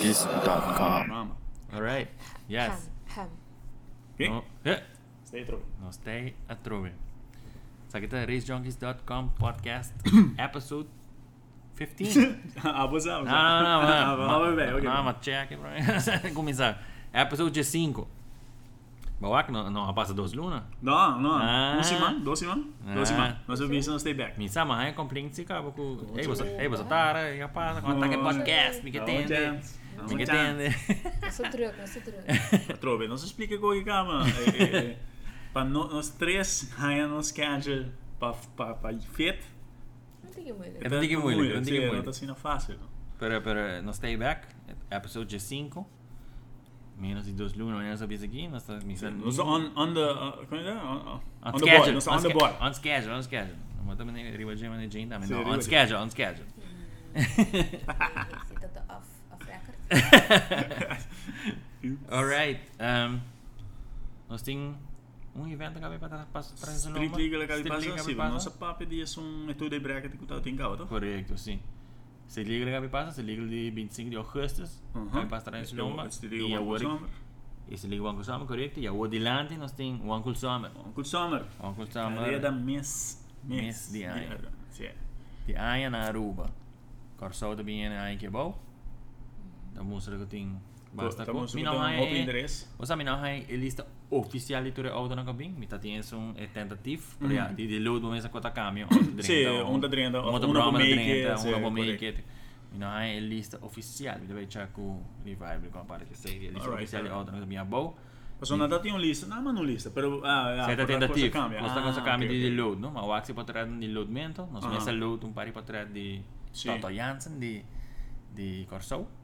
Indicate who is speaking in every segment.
Speaker 1: Radius.com.
Speaker 2: Rama. All right. Yes.
Speaker 3: Ham,
Speaker 1: Okay.
Speaker 2: No, eh,
Speaker 1: Stay true.
Speaker 2: no, stay at Ruby. Sa kita, racejunkies.com podcast episode 15.
Speaker 1: Abusamos.
Speaker 2: Não, não, não.
Speaker 1: Ah,
Speaker 2: mano.
Speaker 1: Vamos bem, ok.
Speaker 2: Não, mas check pra mim. Começar. Episode 5. Bawa que não, não passa duas lunas?
Speaker 1: Não, não.
Speaker 2: Ah.
Speaker 1: Um semana, dois semanas,
Speaker 2: Ah.
Speaker 1: dois semanas. Nós vamos no stay back.
Speaker 2: Mi sa mahay complaint si ka buku. Eh, bosa, eh, bosa tara, ya pa, kontak
Speaker 1: Oh.
Speaker 2: podcast, mi
Speaker 1: Dá
Speaker 2: que
Speaker 1: um
Speaker 2: tende.
Speaker 1: chance, dá
Speaker 2: Mi
Speaker 1: um
Speaker 2: que
Speaker 1: chance.
Speaker 2: tende.
Speaker 3: Nosso truque, nosso truque.
Speaker 1: Trove, não se explica com que É, cama. Para nós três, raia nos canja para fit.
Speaker 3: Não tem que molhar.
Speaker 2: Eu não digo muito, eu não digo muito.
Speaker 1: Não tá sendo fácil.
Speaker 2: Pero, pero, no stay back, episode 5. Menos de dos lunas, menos avisa aqui, nós tá mi sa.
Speaker 1: Nós on, on the, uh, como é que é? On, on-
Speaker 2: On
Speaker 1: on the board,
Speaker 2: schedule,
Speaker 1: nós on the
Speaker 2: sche-
Speaker 1: board.
Speaker 2: On schedule, on schedule. Mo também nem riba de mane jin também.
Speaker 1: Sim,
Speaker 2: não,
Speaker 1: riba
Speaker 2: On
Speaker 1: de-
Speaker 2: schedule, on schedule.
Speaker 3: Esse tanto off, off record.
Speaker 2: All right. Um, nós tem um evento que vai para para
Speaker 1: Street League legal passa assim, nossa papo de isso um é tudo de bracket que tá tem gato.
Speaker 2: Correto, sim. Se liga que vai passar, se liga de 25 de agosto,
Speaker 1: Uhum.
Speaker 2: vai passar em Lomba.
Speaker 1: E
Speaker 2: a
Speaker 1: agora,
Speaker 2: Warwick. E se liga é o Uncle Summer, correto? E a Warwick Delante, nós tem o Uncle Summer.
Speaker 1: Uncle Summer.
Speaker 2: O Uncle
Speaker 1: Área Uhum. da
Speaker 2: Summer
Speaker 1: Miss
Speaker 2: Miss de Aia.
Speaker 1: Sim.
Speaker 2: de Aia na Aruba. Corsou também é Aia que é bom. Da música que tem basta com.
Speaker 1: Estamos com
Speaker 2: Mi
Speaker 1: um
Speaker 2: não
Speaker 1: outro
Speaker 2: é...
Speaker 1: endereço.
Speaker 2: O sea, mi não é lista oficial de toda a outra na cabine. Mi tá tendo um tentativo,
Speaker 1: Mm.
Speaker 2: para já, de ludo mesmo com a caminho.
Speaker 1: Sì, onda 30,
Speaker 2: onda
Speaker 1: una
Speaker 2: broma
Speaker 1: per
Speaker 2: da
Speaker 1: make it,
Speaker 2: 30,
Speaker 1: sì,
Speaker 2: onda per
Speaker 1: corretto.
Speaker 2: make it. Mi não é lista oficial, mi deve check o revival com a parte que sei, lista
Speaker 1: Alright,
Speaker 2: oficial de
Speaker 1: alright.
Speaker 2: outra na minha boa.
Speaker 1: Posso
Speaker 2: Mm.
Speaker 1: andare in un list? No, ma non list, però ah, ah, però cosa
Speaker 2: Certa tentativa,
Speaker 1: cambia.
Speaker 2: questa
Speaker 1: Ah,
Speaker 2: cosa
Speaker 1: ok,
Speaker 2: cambia
Speaker 1: ok.
Speaker 2: di load, no? Ma o axi può trarre un loadmento, non so
Speaker 1: Ah.
Speaker 2: messa load un pari può trarre di
Speaker 1: Sì.
Speaker 2: Toto Jansen di di Corso,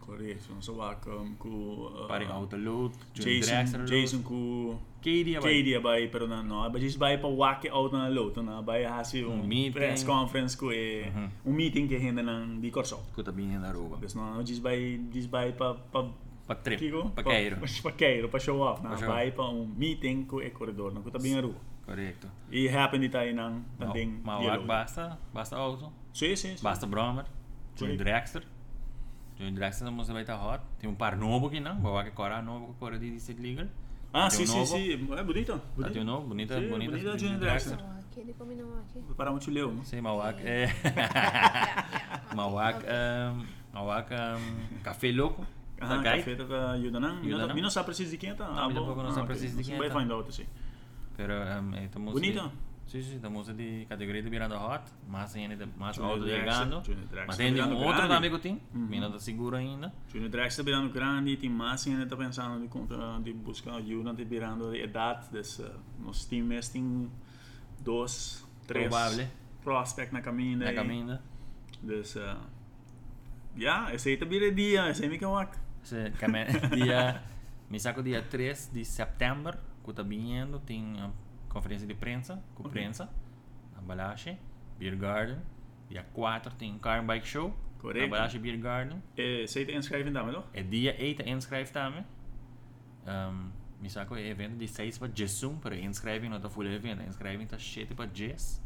Speaker 1: Corretto, non so va con con
Speaker 2: pari auto load, June Drexler
Speaker 1: Ah. eh, Jason
Speaker 2: load,
Speaker 1: Jason con
Speaker 2: Katie vai-
Speaker 1: KD vai però non no, ma ci vai per walk out na lot, na vai a si
Speaker 2: Un
Speaker 1: un
Speaker 2: Mm, meeting.
Speaker 1: press conference con
Speaker 2: Mhm.
Speaker 1: un meeting che hende nan di corso.
Speaker 2: Escuta bem na Aruba.
Speaker 1: Adesso no, ci vai ci vai pa pa
Speaker 2: Pra trip,
Speaker 1: Digo,
Speaker 2: pra Cairo.
Speaker 1: Paqueiro, pra show off.
Speaker 2: Pra
Speaker 1: Na
Speaker 2: show off.
Speaker 1: vai pra um meeting com o corredor, não tá bem a rua.
Speaker 2: Correto.
Speaker 1: E happen de tayo nang tanding
Speaker 2: Ma- Mawag, basta, basta auto,
Speaker 1: Sim, sim, sim.
Speaker 2: basta Bromer, Johnny
Speaker 1: Correto.
Speaker 2: Drexler. Johnny Drexler não vai estar hot. Tem um par novo aqui não, Mawag é cora novo com cora de District League.
Speaker 1: Ah, sim,
Speaker 2: Tem um
Speaker 1: sim,
Speaker 2: novo.
Speaker 1: sim. É bonito.
Speaker 2: Tá tem um novo, bonita,
Speaker 1: Sim,
Speaker 2: bonita,
Speaker 1: bonita
Speaker 2: Johnny
Speaker 1: Johnny
Speaker 2: Drexler.
Speaker 1: Drexler.
Speaker 3: Não, aqui ele combinou aqui.
Speaker 1: Vou parar um chuleu, né?
Speaker 2: Sim, Mawag é... Mawag, um, Mawag, um, Café Louco.
Speaker 1: Ah,
Speaker 2: tá
Speaker 1: café tá ajuda não.
Speaker 2: Ajuda não.
Speaker 1: Mino sa precisa de quinta.
Speaker 2: Não, mi tampoco non sa precisa de
Speaker 1: Vai
Speaker 2: quinta.
Speaker 1: Ah, find out, sim.
Speaker 2: Pero, um, é, estamos...
Speaker 1: Bonito.
Speaker 2: Sim, sim, estamos de categoria de Miranda Hot, mas ainda, mais
Speaker 1: Johnny
Speaker 2: auto
Speaker 1: Drexler,
Speaker 2: chegando.
Speaker 1: Johnny Drexler,
Speaker 2: Mas tem um
Speaker 1: Miranda
Speaker 2: outro
Speaker 1: grande. Uhum.
Speaker 2: amigo tem, ainda tá seguro ainda.
Speaker 1: Junior Drax tá virando grande, tem massa ainda tá pensando de, contra, de buscar ajuda, tá virando de ah, idade. Desse, nosso time tem dois, três
Speaker 2: Probable.
Speaker 1: prospect na eh. caminho.
Speaker 2: Na
Speaker 1: daí.
Speaker 2: caminho.
Speaker 1: Dus eh, ja, esse aí tá bem dia, esse aí me kawak.
Speaker 2: Se caminha dia, me saco dia 3 de setembro, que eu tá vindo, tem a conferência de prensa, com
Speaker 1: Ok.
Speaker 2: prensa, na Balache, Beer Garden. Dia 4 tem Car and Bike Show,
Speaker 1: Correto.
Speaker 2: na Balache Beer Garden.
Speaker 1: Esse aí tá inscrivendo também, não?
Speaker 2: É dia 8 inscreve também. Um, me saco é evento de 6 para 10, para inscreve não tá full evento, inscreve tá 7 para 10.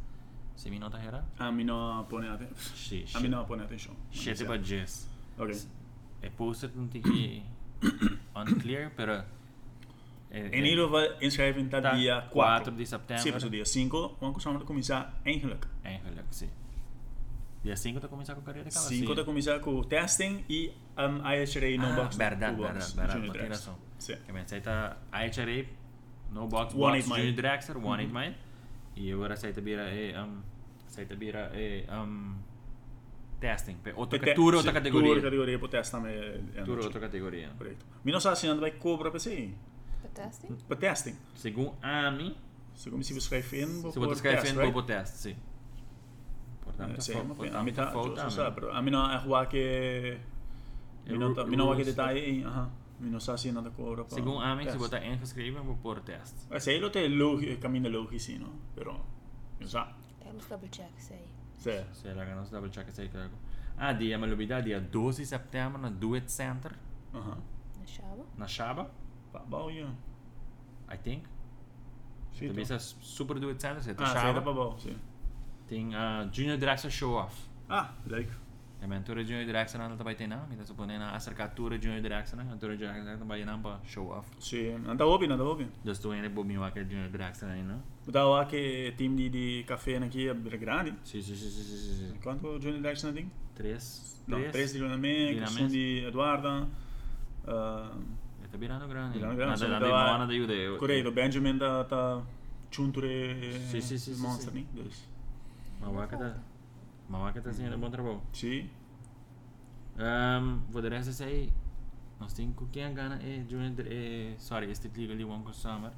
Speaker 2: Se me não tá errado?
Speaker 1: A mim não põe atenção.
Speaker 2: Sim,
Speaker 1: A mim não põe atenção.
Speaker 2: 7 para 10.
Speaker 1: Ok.
Speaker 2: É poster, não tem que... Unclear, pero... É,
Speaker 1: En ieder geval inscriving tá
Speaker 2: Tá,
Speaker 1: dia
Speaker 2: 4
Speaker 1: 4
Speaker 2: de setembro.
Speaker 1: Sim, passou dia 5, vamos começar a começar eigenlijk.
Speaker 2: É, olha que sim. Dia 5 tá começando com a carreira de
Speaker 1: 5 tá começar com testing e um, IHRA no
Speaker 2: Ah,
Speaker 1: box.
Speaker 2: verdade,
Speaker 1: no
Speaker 2: verdade,
Speaker 1: box,
Speaker 2: verdade,
Speaker 1: Junior
Speaker 2: tem
Speaker 1: Drax.
Speaker 2: razão. É,
Speaker 1: Sim.
Speaker 2: Que bem, aceita IHRA, no
Speaker 1: One Eight
Speaker 2: box, box,
Speaker 1: Uhum. Mile.
Speaker 2: Junior Drexler, One Eight Mile. E agora aceita bira é... Um, aceita bira é... Um, testing. Pe- Outra,
Speaker 1: Pete-
Speaker 2: tour, outra
Speaker 1: sim, Tour,
Speaker 2: categoria.
Speaker 1: categoria para testar também. é,
Speaker 2: Tour, outra categoria.
Speaker 1: Correto. Mim não sabe se ainda vai cobrar para esse
Speaker 3: Fantástico.
Speaker 1: Para testing.
Speaker 2: Segundo a mim,
Speaker 1: Se como se você escrevendo, vou
Speaker 2: se você
Speaker 1: pôr
Speaker 2: escreve
Speaker 1: test,
Speaker 2: no
Speaker 1: right?
Speaker 2: bobo teste, sim. Portanto,
Speaker 1: Eh, Sì,
Speaker 2: fo-
Speaker 1: ma poi- a
Speaker 2: portanto,
Speaker 1: metà,
Speaker 2: falta
Speaker 1: giusto,
Speaker 2: a
Speaker 1: sa,
Speaker 2: mim.
Speaker 1: però a me non è qua che mi non
Speaker 2: Ru-
Speaker 1: mi non va che
Speaker 2: rules.
Speaker 1: dettagli, ah, mi non sa se è andato ancora pa-
Speaker 2: Segundo a mim, se
Speaker 1: test.
Speaker 2: botar inscreve, eu vou pôr teste.
Speaker 1: Eh, se lo te lo cammina lo che sì, no? Però mi sa.
Speaker 3: Temos double check isso aí.
Speaker 1: Sì.
Speaker 2: Se la ganas double check sei cargo. Ah, dia me lubida dia 12 setembro na Duet Center
Speaker 1: Ah.
Speaker 3: Na chave.
Speaker 2: na Shaba,
Speaker 1: Pa boia.
Speaker 2: I think.
Speaker 1: Sì.
Speaker 2: Também
Speaker 1: to-
Speaker 2: essa Super Duet Center, se
Speaker 1: Ah, sì, da
Speaker 2: Shaba.
Speaker 1: babau, sì.
Speaker 2: Tem a Junior Drexler ah, Show Off.
Speaker 1: Ah, like.
Speaker 2: E men tu regiunea de reacționat altă bai tena, mi se pune na acerca tu regiunea de reacționat, tu regiunea de reacționat bai tena pa show off.
Speaker 1: Sí, anda obvio, anda obvio.
Speaker 2: Destul de bobi va că regiunea de reacționat, nu?
Speaker 1: Daar waar que team die die café na aqui é grande.
Speaker 2: Si, si, si, si, si, si.
Speaker 1: Quanto Johnny Jackson ding?
Speaker 2: Tres.
Speaker 1: No, tres de Lunamé,
Speaker 2: Dinamés.
Speaker 1: Cristian de Eduarda. Uh,
Speaker 2: Eta birando grani.
Speaker 1: Birando grani,
Speaker 2: Nada,
Speaker 1: so
Speaker 2: nada,
Speaker 1: da va-
Speaker 2: nada, nada, iude.
Speaker 1: Correio, Benjamin da tá Chunture
Speaker 2: Sim, sim, sim, sim,
Speaker 1: Monster,
Speaker 2: sim.
Speaker 1: né? Dois.
Speaker 2: Ma va că ta... Ma va că ta ține de bun trebou.
Speaker 1: Sim.
Speaker 2: Um, vou dar essa aí. Nós temos com quem a gana é Junior é, sorry, este liga de Wanko Summer.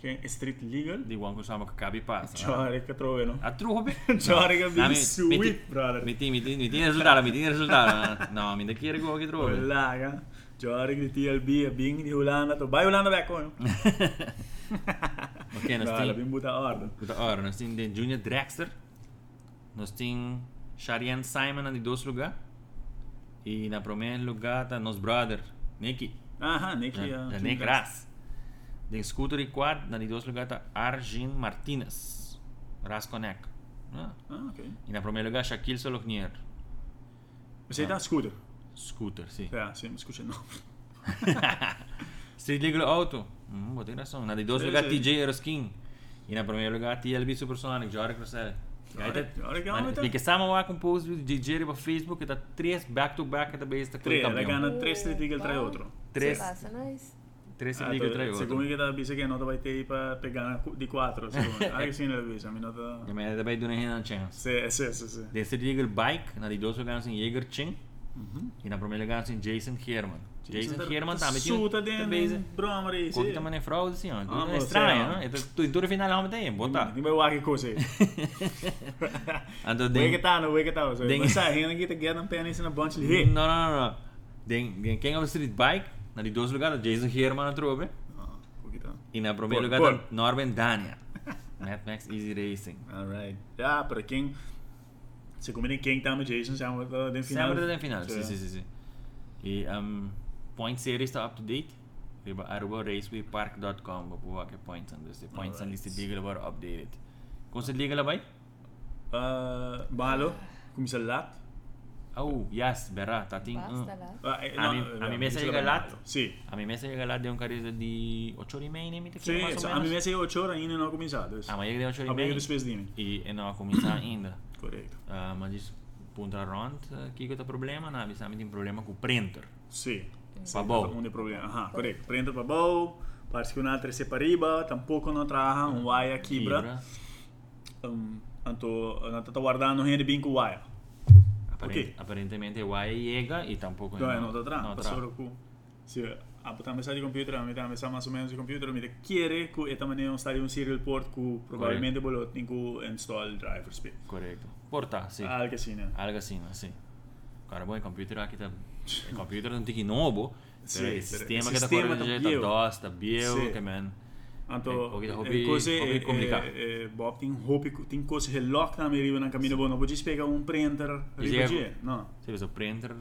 Speaker 1: Quem Street Legal? Ah.
Speaker 2: De Wanko Summer que cabe passa.
Speaker 1: Chore que trove, não?
Speaker 2: A trupe.
Speaker 1: Chore que bem sweet, brother.
Speaker 2: Mi ti, mi ti, mi ti risultato, mi ti risultato. No, mi da chi era che trove.
Speaker 1: Laga. Chore que TLB é bem de Holanda, tu vai Holanda back on.
Speaker 2: Eh, Ok, nós
Speaker 1: Brother,
Speaker 2: temos
Speaker 1: bem botar ordem.
Speaker 2: Uite, ora, nós temos de Junior Drexler. Nós temos Sharian Simon em dois lugar. E na primeiro lugar está nosso brother, Nicky.
Speaker 1: Aham, nem que
Speaker 2: Ja, ja, Eh, Nick Ras. De scooter e quad, na de dois lugar está Arjun Martinez. Ras Connect. Ah.
Speaker 1: Ah, ok.
Speaker 2: E na primeiro lugar, Shaquille Soloknier. Ah.
Speaker 1: Você tá scooter? Cioè, ah,
Speaker 2: Scooter, sim.
Speaker 1: É, sim, escuta não.
Speaker 2: Street Legal Auto. Hum, botei razão. Na de dois
Speaker 1: Sim,
Speaker 2: lugar,
Speaker 1: sim.
Speaker 2: TJ Eroskin. E na primeiro lugar, TLB Supersonic, Jorge Crosselli.
Speaker 1: Ja, dat kan wel, weet je.
Speaker 2: Fica samen lá com o post do DJ para Facebook, que tá três back-to-back da base da
Speaker 1: Três, ela
Speaker 2: campeão.
Speaker 1: ganha três Street Legal, trai outro.
Speaker 2: Três.
Speaker 3: Se passa, é nice.
Speaker 2: Três
Speaker 1: Ah,
Speaker 2: Legal
Speaker 1: tu-
Speaker 2: trai
Speaker 1: Segundo
Speaker 2: outro.
Speaker 1: que tá disse que a nota vai ter aí pra pegar na- de quatro. segundo. Ah, que sim, né, Luiz? A minha nota... eh,
Speaker 2: E me também deu uma chance.
Speaker 1: Sim, sim, sim, sim.
Speaker 2: De Street Legal Bike, na de dois lugar, assim, Jäger Ching.
Speaker 1: Mhm.
Speaker 2: E na primeira lugar, assim, Jason Herman. Jason Herman também tinha
Speaker 1: Suta
Speaker 2: da
Speaker 1: dentro,
Speaker 2: base.
Speaker 1: broma aí,
Speaker 2: Quando
Speaker 1: sim.
Speaker 2: também é fraude, assim, ó.
Speaker 1: Ah,
Speaker 2: É
Speaker 1: mas,
Speaker 2: estranho,
Speaker 1: sei lá.
Speaker 2: né? Então, tu- em tudo final, realmente tem, botar.
Speaker 1: Não vai lá que coisa aí.
Speaker 2: Então,
Speaker 1: Vê que
Speaker 2: tem...
Speaker 1: tá, não, vê que tá. Você
Speaker 2: Ding.
Speaker 1: vai saindo aqui, tá guiando a perna em bunch de
Speaker 2: Não, não, não, não. Tem, tem quem é o Street Bike, na de dois lugares, Jason Herman na trove.
Speaker 1: Ah, o que tá?
Speaker 2: E na primeiro
Speaker 1: Por-
Speaker 2: lugar,
Speaker 1: por.
Speaker 2: tá Norman Dania. Mad Max Easy Racing.
Speaker 1: Alright. Ja, pra quem... Se combina quem tá no Jason, já vai dentro final.
Speaker 2: Sempre tem final, sim, sim, sim. sim. E um, Point Series está up to date. Riba arroba racewaypark.com, vou pôr aqui points. Então, se points and
Speaker 1: Alright.
Speaker 2: lista liga, agora updated. Como se liga, vai?
Speaker 1: Uh, Balo, começa lá.
Speaker 2: Oh, yes, berra, tá tem.
Speaker 3: Basta
Speaker 2: um.
Speaker 3: lá.
Speaker 1: Ah, eh,
Speaker 2: A
Speaker 1: no,
Speaker 2: mi-
Speaker 1: eh,
Speaker 2: a
Speaker 1: no,
Speaker 2: mi me
Speaker 1: comienza
Speaker 2: llega
Speaker 1: la-
Speaker 2: lato.
Speaker 1: Sí.
Speaker 2: A mim mesmo chega lá de um careza de 8 horas e meia, nem me
Speaker 1: Sí,
Speaker 2: mais ou
Speaker 1: so, a mí me
Speaker 2: menos.
Speaker 1: hace 8 horas ainda não começar. Pues.
Speaker 2: A maioria de 8 horas
Speaker 1: A
Speaker 2: e
Speaker 1: meio
Speaker 2: meia.
Speaker 1: do Space Demon.
Speaker 2: E eu não começar ainda.
Speaker 1: Correto.
Speaker 2: Ah, mas isso, punta rond, aqui que tá problema, não, sabe, tem problema com o printer.
Speaker 1: Sim.
Speaker 2: Pra bom.
Speaker 1: Um de problema. Aham, correto. Prenda para bom. Parece que o Natre se pariba. Tampouco não traha. Um wire quebra. Um, então, não está guardando ainda bem com o wire.
Speaker 2: Aparent,
Speaker 1: Ok.
Speaker 2: Aparentemente, o AI chega e tá tampouco.
Speaker 1: Então, é, não está
Speaker 2: não
Speaker 1: traha.
Speaker 2: tra-
Speaker 1: Passou com... Se a botar mensagem de computer, a botar mensagem mais ou menos de computer, me quer que eu também não estaria um serial port que provavelmente vou ter que install driver speed. Ah,
Speaker 2: Correto. Porta, sim.
Speaker 1: Algo assim, né?
Speaker 2: Algo assim, assim. Cara, bom, o computador aqui tá. O computador não tem que novo.
Speaker 1: Sim,
Speaker 2: pero o
Speaker 1: pero
Speaker 2: sistema
Speaker 1: o
Speaker 2: que tá
Speaker 1: sistema
Speaker 2: correndo
Speaker 1: tá
Speaker 2: tá
Speaker 1: viejo.
Speaker 2: DOS, tá
Speaker 1: Sim.
Speaker 2: bio, que man.
Speaker 1: Anto,
Speaker 2: Eh,
Speaker 1: eh,
Speaker 2: hobby-
Speaker 1: cose,
Speaker 2: hobby
Speaker 1: eh,
Speaker 2: complicato.
Speaker 1: eh, eh, Bob, tem hobby, tem coisas que lock na minha riba na caminho bom, não podia pegar um printer,
Speaker 2: Isso é-
Speaker 1: riba não.
Speaker 2: Se você printer.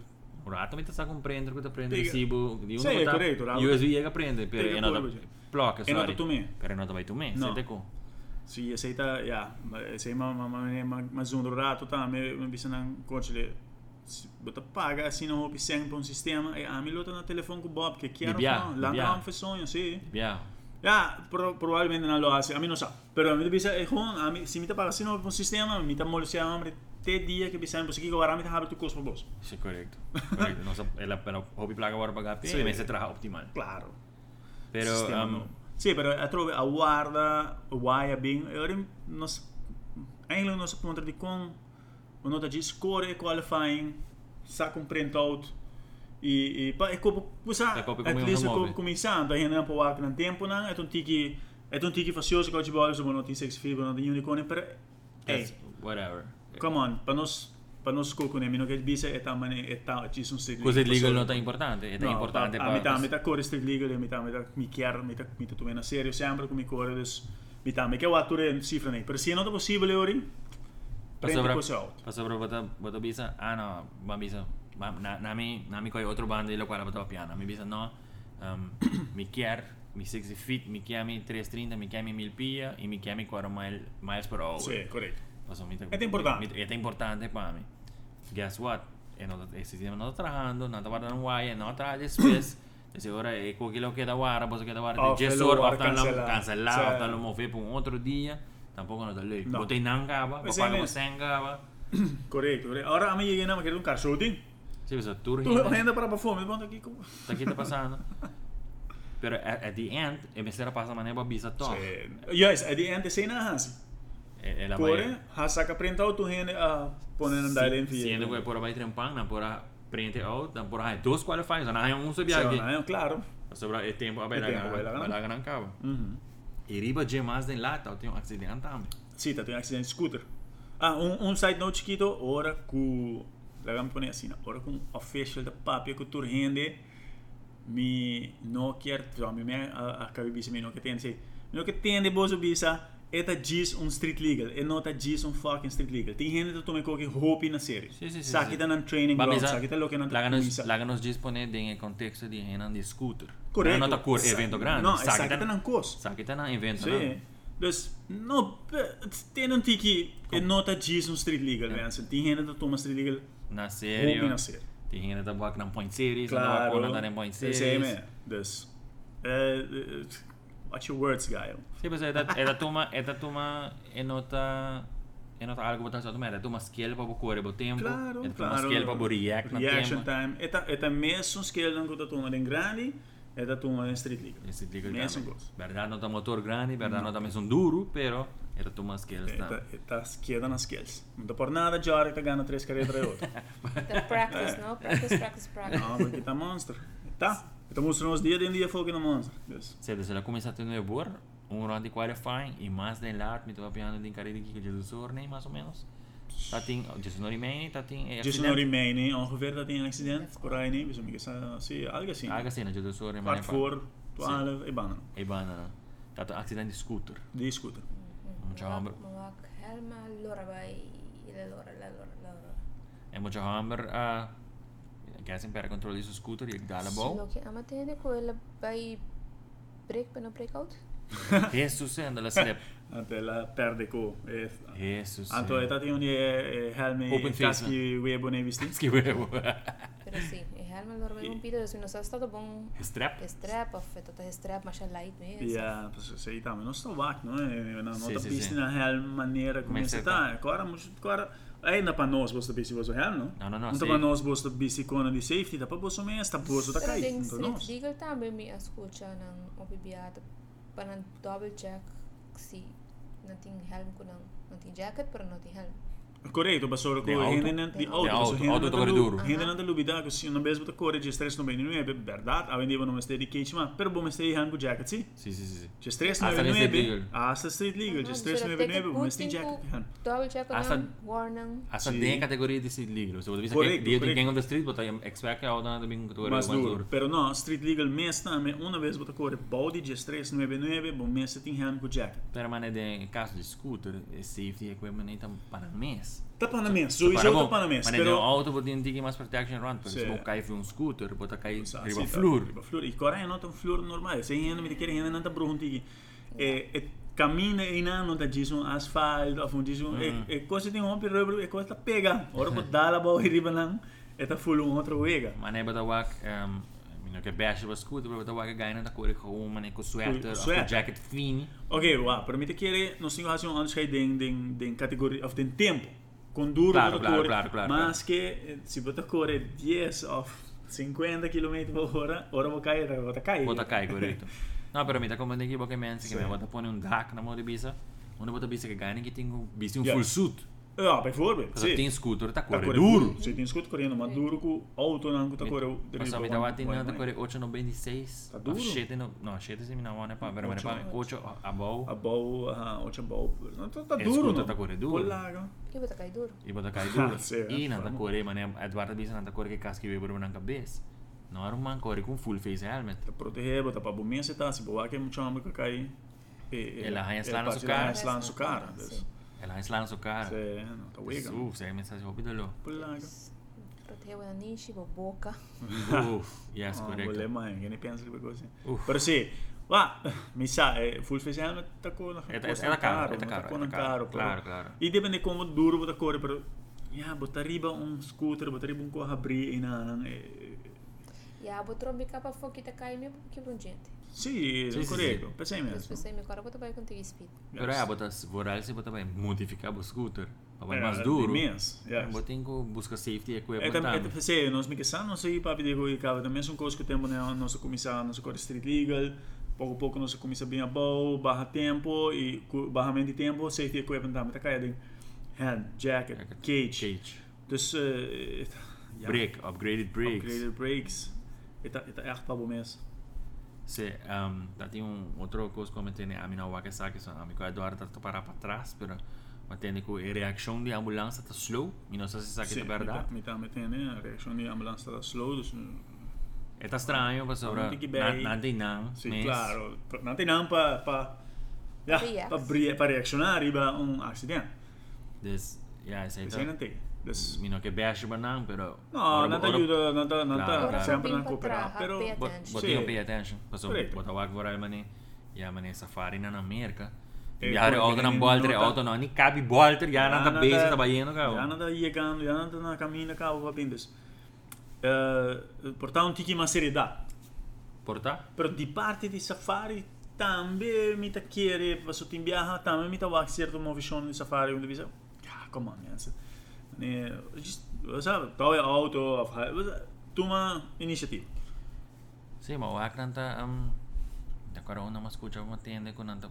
Speaker 2: O rato também tá com um printer que tá prendendo
Speaker 1: Diga.
Speaker 2: recibo. de um
Speaker 1: Sim, é
Speaker 2: botar-
Speaker 1: correto, rato.
Speaker 2: USB chega a prender, pero
Speaker 1: Diga
Speaker 2: é nota.
Speaker 1: pure, Luigi.
Speaker 2: Placa,
Speaker 1: E nota
Speaker 2: sorry.
Speaker 1: tu me.
Speaker 2: Pero é nota vai tu me,
Speaker 1: No.
Speaker 2: sete com.
Speaker 1: e Se aceita, já, se ma ma ma ma ma zoom rato tá, me me bisa nang coach le bota paga assim não hobby sempre um sistema e a mim lota na telefone com Bob que quero
Speaker 2: Bibbia,
Speaker 1: lá
Speaker 2: bibbia.
Speaker 1: não foi sonho, sim.
Speaker 2: Via.
Speaker 1: Ya, pro- probablemente no lo hace. A mí no sabe. Pero a mí te pisa, es un, e a mí, si me te paga así, no un sistema, me te molestia hambre. Te día que pisa, pues aquí ahora me te abre tu cosa por vos.
Speaker 2: Isso é correto. correto. Nossa, ela, ela hobby placa agora para HP,
Speaker 1: Sim.
Speaker 2: mas se trabalha optimal.
Speaker 1: Claro.
Speaker 2: Pero,
Speaker 1: sistema
Speaker 2: um,
Speaker 1: novo. Sì, però a trove a guarda, a guaia bing, e ora non si... Engelo non si può di con, o nota di score e qualifying, sa con printout, e, e pa, e come, sa,
Speaker 2: Da copy
Speaker 1: at
Speaker 2: come
Speaker 1: least
Speaker 2: uno
Speaker 1: come
Speaker 2: muove.
Speaker 1: cominciando, e non può anche nel tempo, non, e tu tiki, e tu tiki tipo, fazioso, che oggi vuole, se non ti sei sfigo, non ti unicorni, però,
Speaker 2: that's
Speaker 1: ehi,
Speaker 2: whatever.
Speaker 1: come on, per nos, per nos cucco, nemmeno che il bise è tamane, è tamane, ci sono segni.
Speaker 2: Così il legal non è importante, è
Speaker 1: No,
Speaker 2: importante
Speaker 1: pa-
Speaker 2: pa-
Speaker 1: a metà, a metà corre Street Legal e a metà, a metà mi chiaro, a metà, a metà tu mena serio sempre come corre adesso. Metà, mi chiaro attore cifra nei. Per se non è possibile ori,
Speaker 2: pa
Speaker 1: prendi
Speaker 2: sopra-
Speaker 1: cose out.
Speaker 2: pa sopra bota- bota bisa, ah no, ma bisa, ma na, na mi, na mi coi otro bando della quale bota piano, mi bisa no, um, mi chiar, mi 60 feet, mi chiami 330, mi chiami 1000 pia e mi chiami 4 mile, miles per hour.
Speaker 1: Sì, corretto.
Speaker 2: Passo, mi te-
Speaker 1: Ed è importante.
Speaker 2: mi- ed è importante per me. guess what? E non, e sistema non sta trabajando, non sta guardando guai, e non sta después. e se ora è quello che lo chiede a guarda, posso chiedere a guarda,
Speaker 1: Oh,
Speaker 2: già
Speaker 1: quello
Speaker 2: solo,
Speaker 1: guarda,
Speaker 2: stanno
Speaker 1: cancella.
Speaker 2: cancellato,
Speaker 1: Sì.
Speaker 2: stanno muovendo per un altro giorno, tampoco non sta lì.
Speaker 1: No. Pues
Speaker 2: Botte in angava,
Speaker 1: Ma
Speaker 2: papà
Speaker 1: sei lì.
Speaker 2: come sengava.
Speaker 1: Corretto, corretto. Ora a me gli chiediamo che un cazzo, tu?
Speaker 2: Sì, questo è turno.
Speaker 1: Tu anda para para fome, bota aqui com...
Speaker 2: Sta che sta passando? Però at, at the end, e mi sera passa ma ne babisa to.
Speaker 1: Yes, at the end the scene has.
Speaker 2: E, e Eh, la
Speaker 1: Corre, has saca printout tu rende a poner na dale enfia.
Speaker 2: Siendo que por vai trempang, na pora prende out, na pora hai oh, dos qualifiers, na hai un
Speaker 1: viagem.
Speaker 2: subiagi.
Speaker 1: eh, claro.
Speaker 2: Sobra eh, e tempo a
Speaker 1: E
Speaker 2: bella
Speaker 1: tempo, vai la
Speaker 2: gran,
Speaker 1: gran-
Speaker 2: bella gran cava.
Speaker 1: Uhum.
Speaker 2: E riba gemas den lata, tem un accidente também.
Speaker 1: Sim, tá, tem acidente de scooter. Ah, um, um side note que tô, ora com... Legal me põe assim, né? ora com official da papia que tu rende, me não quer, só me a, a cabibisa me não que tem, sei. Me não que tem de bozo bisa, eta diz um street legal, e não tá diz um fucking street legal. Tem gente que tome qualquer roupa na série.
Speaker 2: Sì, sì, sì,
Speaker 1: Sa
Speaker 2: sì.
Speaker 1: que tá na training ground, sa que tá louco na polícia.
Speaker 2: La ganos dispone den contexto di henan di scooter.
Speaker 1: Correto.
Speaker 2: Non ta cur
Speaker 1: Sa-
Speaker 2: evento grande.
Speaker 1: Não, sa que tá na costa.
Speaker 2: Sa che ta na evento.
Speaker 1: Sì. Dus, no, tem um tiki, e não tá diz um street
Speaker 2: Eh.
Speaker 1: legal, né? Tem gente que toma street legal.
Speaker 2: Na
Speaker 1: Serio?
Speaker 2: serio.
Speaker 1: Hobi ser.
Speaker 2: Ti hinner ta bak na point series, na
Speaker 1: Claro.
Speaker 2: bak na point
Speaker 1: Det
Speaker 2: series.
Speaker 1: säger med. Dus. eh, eh, watch your words, guy.
Speaker 2: Sì, pues era, era toma, era toma, e nota, e nota algo botato sotto me, era toma skill para cuore bo tempo,
Speaker 1: Claro,
Speaker 2: era toma
Speaker 1: claro.
Speaker 2: skill para react na
Speaker 1: Reaction
Speaker 2: tempo.
Speaker 1: time. Eta, eta mesmo skill não que eu tô em grande, eta tô em street league.
Speaker 2: E si dico
Speaker 1: Mesmo
Speaker 2: che
Speaker 1: gosto.
Speaker 2: verdad nota motor grande, verdad nota messo duro, però era toma skill
Speaker 1: Eta,
Speaker 2: sta.
Speaker 1: eta esquerda nas skills. Não dá por nada, Jora, que ganha três carreiras e outra.
Speaker 3: The practice, no? Practice, practice, practice.
Speaker 1: Não, porque tá monstro. Tá. Eta mostrando os dias, de um dia fogo no monstro. Dus.
Speaker 2: Se se la cominciato in buor, un round di qualifying e más del art mi tova piano di incarichi che Gesù sorne, más o menos. Tatin, oh, Gesù non rimane, tatin e
Speaker 1: Just não remain, ongeveer dat in accident. Por aí, né? Bisa me que se algo assim. é
Speaker 2: Aga sena Gesù sorne, ma
Speaker 1: Quart voor, twaalf, e banan.
Speaker 2: e banana. Tato accidente di scooter.
Speaker 1: Die scooter.
Speaker 2: Non c'è hammer.
Speaker 3: Mawak helma lora bay ila lora la lora la lora.
Speaker 2: En moet je hamer, eh gas in per controle su scooter, je dala
Speaker 3: Sino
Speaker 2: bal.
Speaker 3: que amate de ko ila bay break pa no breakout?
Speaker 2: Jesus en de slip.
Speaker 1: Att la perde ko. eh,
Speaker 2: Jesus.
Speaker 1: Anto eta ti unie eh, helmi
Speaker 2: Open face,
Speaker 1: kaski webo ne visti.
Speaker 2: Schiwevo.
Speaker 3: Pero sí, eh, helma lora bay un pito, si nos ha estado é bon
Speaker 2: Strap.
Speaker 3: strap of tata strap masha light me.
Speaker 1: Ja, precis. Säg ta, men de står vakt nu. Eh, En annan
Speaker 2: Sì,
Speaker 1: ta
Speaker 2: sì,
Speaker 1: pisti
Speaker 2: sì.
Speaker 1: na helm manera
Speaker 2: Come
Speaker 1: come se
Speaker 2: se
Speaker 1: ta. Kora mus kora Ainda pa nós bosta bisi bosta helm, no?
Speaker 2: No, no, no,
Speaker 1: Não
Speaker 2: sì.
Speaker 1: pa nós bosta bisi kona di safety, ta pa bosta mes, ta bosta ta
Speaker 3: Pero
Speaker 1: kai.
Speaker 3: ding
Speaker 1: Então
Speaker 3: street
Speaker 1: nós.
Speaker 3: legal tambe mi ascolta nang obibiat pa nang double check si nating helm ko nang nating jacket pero nating helm.
Speaker 1: Correto, pa solo ko
Speaker 2: De auto?
Speaker 1: hende na di
Speaker 3: De
Speaker 1: auto.
Speaker 2: auto,
Speaker 1: so, hende
Speaker 2: auto
Speaker 1: na
Speaker 2: tocare
Speaker 1: da lu-
Speaker 2: duro.
Speaker 1: Hende na da lubida ko si na bezbo ta kore, je stres no bem, não é verdade. A vendeva no mestre de quente, mas pero bom mestre helm ko jacket, sim.
Speaker 2: Sì, sì, sì.
Speaker 1: Just stress
Speaker 2: Asta
Speaker 1: nu
Speaker 2: nu
Speaker 1: e
Speaker 2: este
Speaker 1: bine.
Speaker 2: legal.
Speaker 1: Asta street legal,
Speaker 3: Aha,
Speaker 1: just
Speaker 3: dus
Speaker 1: stress nu
Speaker 3: dat
Speaker 1: e bine,
Speaker 3: betekent
Speaker 1: bă, mă sting
Speaker 3: goed
Speaker 1: jacket.
Speaker 3: in Double check
Speaker 2: Asta-
Speaker 3: nang warning.
Speaker 2: Asta
Speaker 1: Sì.
Speaker 2: sì. den categorie di street legal. Se vuoi dire
Speaker 1: Correct,
Speaker 2: che io ti
Speaker 1: correct.
Speaker 2: tengo on the street, potrei expect che ho é da bin tu ora
Speaker 1: Mas duro.
Speaker 2: quando.
Speaker 1: Pero no, street legal mes também, uma vez botou cor body, just stress nu e bine, bom mes se tem hand com jacket.
Speaker 2: Per mane in é caso di scooter e safety equipment e tam para mes.
Speaker 1: Tá para mes, juiz outro para mes,
Speaker 2: Mane é de
Speaker 1: pero
Speaker 2: auto pot din tiki mas protection run, per
Speaker 1: Sì.
Speaker 2: se cai fi un um scooter, pot cai
Speaker 1: Sa-
Speaker 2: riba
Speaker 1: sì,
Speaker 2: flur.
Speaker 1: tá, Riba flor. E cora é nota um flor normal, se hand me quer hand nota brunti. E e cammina in anno da Jason asfalto, a fundi
Speaker 2: Mm.
Speaker 1: e e coisa tem um pirro e coisa pega. Ora pode dar a bola e riba não. Eta full um outro wega.
Speaker 2: Maar nee, dat was é um, minder ke bash was goed, maar dat was gaai na koor ik gewoon maar ik né, sweater of
Speaker 1: sweater.
Speaker 2: een jacket fini.
Speaker 1: Ok, wow, permite que nós temos razão antes que den den den categoria of den tempo. Com duro
Speaker 2: Claro,
Speaker 1: da
Speaker 2: claro,
Speaker 1: corre,
Speaker 2: claro, claro,
Speaker 1: mas que eh, se botar corre 10 of 50 km por hora, ora vou cair, vou tá cair.
Speaker 2: Wat dat kijk correct. Nou, pero mi ta como de equipo que mensen que
Speaker 1: Sì.
Speaker 2: me wat pone un dak na mode bisa. Uno bota bisa que gaai na que tingo bisa un
Speaker 1: Ja.
Speaker 2: full suit.
Speaker 1: Ah, por favor,
Speaker 2: Pas tin scootor ta
Speaker 1: Tá
Speaker 2: koor
Speaker 1: corre
Speaker 2: duro.
Speaker 1: duro. Se tem escuta correndo,
Speaker 2: É.
Speaker 1: mas duro com auto não tá corre.
Speaker 2: Mas a mi ta wat in na koor 896.
Speaker 1: Tá duro?
Speaker 2: Shit no, no, shit se mi na wana pa, pero me pa 8
Speaker 1: A
Speaker 2: above.
Speaker 1: bol, ah, o chambol. Não tá, tá
Speaker 2: E
Speaker 1: duro,
Speaker 2: escuta,
Speaker 1: não.
Speaker 2: tá corre duro.
Speaker 1: Polaga.
Speaker 3: Iba ta kay duro.
Speaker 2: E bota cai duro.
Speaker 1: Sì,
Speaker 2: E na ta
Speaker 1: fermo.
Speaker 2: koor, mane Eduardo bisa na ta koor que casque veio por uma cabeça. Não era um man koor com full face helmet.
Speaker 1: Tá proteger, botar pra bombinha, você tá, se boar que é muito chamba que cai. eh, E
Speaker 2: E la rainha se lá no seu
Speaker 1: Ela
Speaker 2: cara.
Speaker 1: rainha se lá no seu cara.
Speaker 3: Sim.
Speaker 2: Ela lá na sua cara.
Speaker 1: Se, não, tá wega.
Speaker 2: Uf, se me estás olvidando.
Speaker 1: Polaga.
Speaker 3: Protejo na nishi, boboca.
Speaker 1: Mm.
Speaker 2: Uf, yes,
Speaker 1: Ah, vou ler
Speaker 2: correcto.
Speaker 1: mais, ninguém nem pensa que pegou assim.
Speaker 2: Uf.
Speaker 1: Pero sim, vá, me sabe, full face helmet tá com na
Speaker 2: É- é- é da cara, é da
Speaker 1: não
Speaker 2: cara,
Speaker 1: tá com
Speaker 2: é
Speaker 1: na
Speaker 2: da cara.
Speaker 1: cara,
Speaker 2: Claro,
Speaker 1: pero-
Speaker 2: claro.
Speaker 1: E depende como duro vou da cor, pero Ja, botar riba um scooter, botar riba um carro abrir e não. eh,
Speaker 3: Ya, vou trombicar pra fogo que tá caindo que lungente.
Speaker 1: Sim,
Speaker 2: Sim,
Speaker 1: é
Speaker 2: sim,
Speaker 1: correto. Pensei
Speaker 3: Eu
Speaker 1: mesmo.
Speaker 3: pensei, meu cara, vou trabalhar contigo speed.
Speaker 2: Pero é, botar, voral se botar bem, modificar o scooter, para
Speaker 1: É,
Speaker 2: mais duro.
Speaker 1: Imenso. yes.
Speaker 2: Botem com busca safety
Speaker 1: É,
Speaker 2: equipment.
Speaker 1: tam, é,
Speaker 2: também.
Speaker 1: se, nós mexicanos aí, papi, digo, e cara, também são coisas que temos na nossa comissão, nossa cor street legal, pouco a pouco nossa comissão bem boa, barra tempo, e cu- barramento de tempo, safety equipment também, tá caindo, hand, jacket,
Speaker 2: Jacket,
Speaker 1: cage,
Speaker 2: Cage.
Speaker 1: dus, eh, ja,
Speaker 2: Brake, upgraded brakes.
Speaker 1: upgraded brakes, e tá, e tá echt pabo mesmo.
Speaker 2: Se, um, tem um outro coisa que eu tenho a minha Wakasaki, a minha Eduardo tá, está parar para trás, pero mantém que a reação de ambulância está slow, e não sei se isso é verdade.
Speaker 1: Me tá metendo, né, a reação de ambulância tá slow, dus,
Speaker 2: É tá estranho, mas agora né?
Speaker 1: Não tem que bem.
Speaker 2: não tem não.
Speaker 1: sim,
Speaker 2: mas-
Speaker 1: claro, pra- não tem não para, para, ja,
Speaker 3: React.
Speaker 1: para reaccionar, riba um acidente,
Speaker 2: Des, yeah, isso aí
Speaker 1: isso
Speaker 2: tá.
Speaker 1: aí não tem, dus...
Speaker 2: Mi não que beijo banang, pero
Speaker 1: No, não te ajuda, não te, não
Speaker 2: Claro,
Speaker 1: te,
Speaker 2: claro.
Speaker 1: sempre não
Speaker 3: Ora,
Speaker 1: cooperar,
Speaker 3: pra
Speaker 1: pero...
Speaker 3: trás,
Speaker 2: But,
Speaker 3: Attention.
Speaker 2: but
Speaker 1: Sì.
Speaker 2: io pay attention. Passo
Speaker 1: Corretto.
Speaker 2: botawag voral mani, ya mani safari na na merka.
Speaker 1: E
Speaker 2: Yare
Speaker 1: quello
Speaker 2: auto
Speaker 1: che
Speaker 2: na
Speaker 1: ne
Speaker 2: bolter,
Speaker 1: nota-
Speaker 2: auto na ni cabi bolter, ya na da base trabalhando,
Speaker 1: Já
Speaker 2: cara.
Speaker 1: não tá chegando, já não tá na caminho, cá, o papindes. Uh, portar um tique mais seriedade.
Speaker 2: Porta?
Speaker 1: Pero de parte de safari, também me tá querer, passo tem viaja, também me tá vai ser uma visão de safari, onde visa, ah, come on, man. Né, just, sabe, tal é auto, of, toma iniciativa.
Speaker 2: Sim, mas o Akran tá um da cara onda mas escuta uma tenda com nanta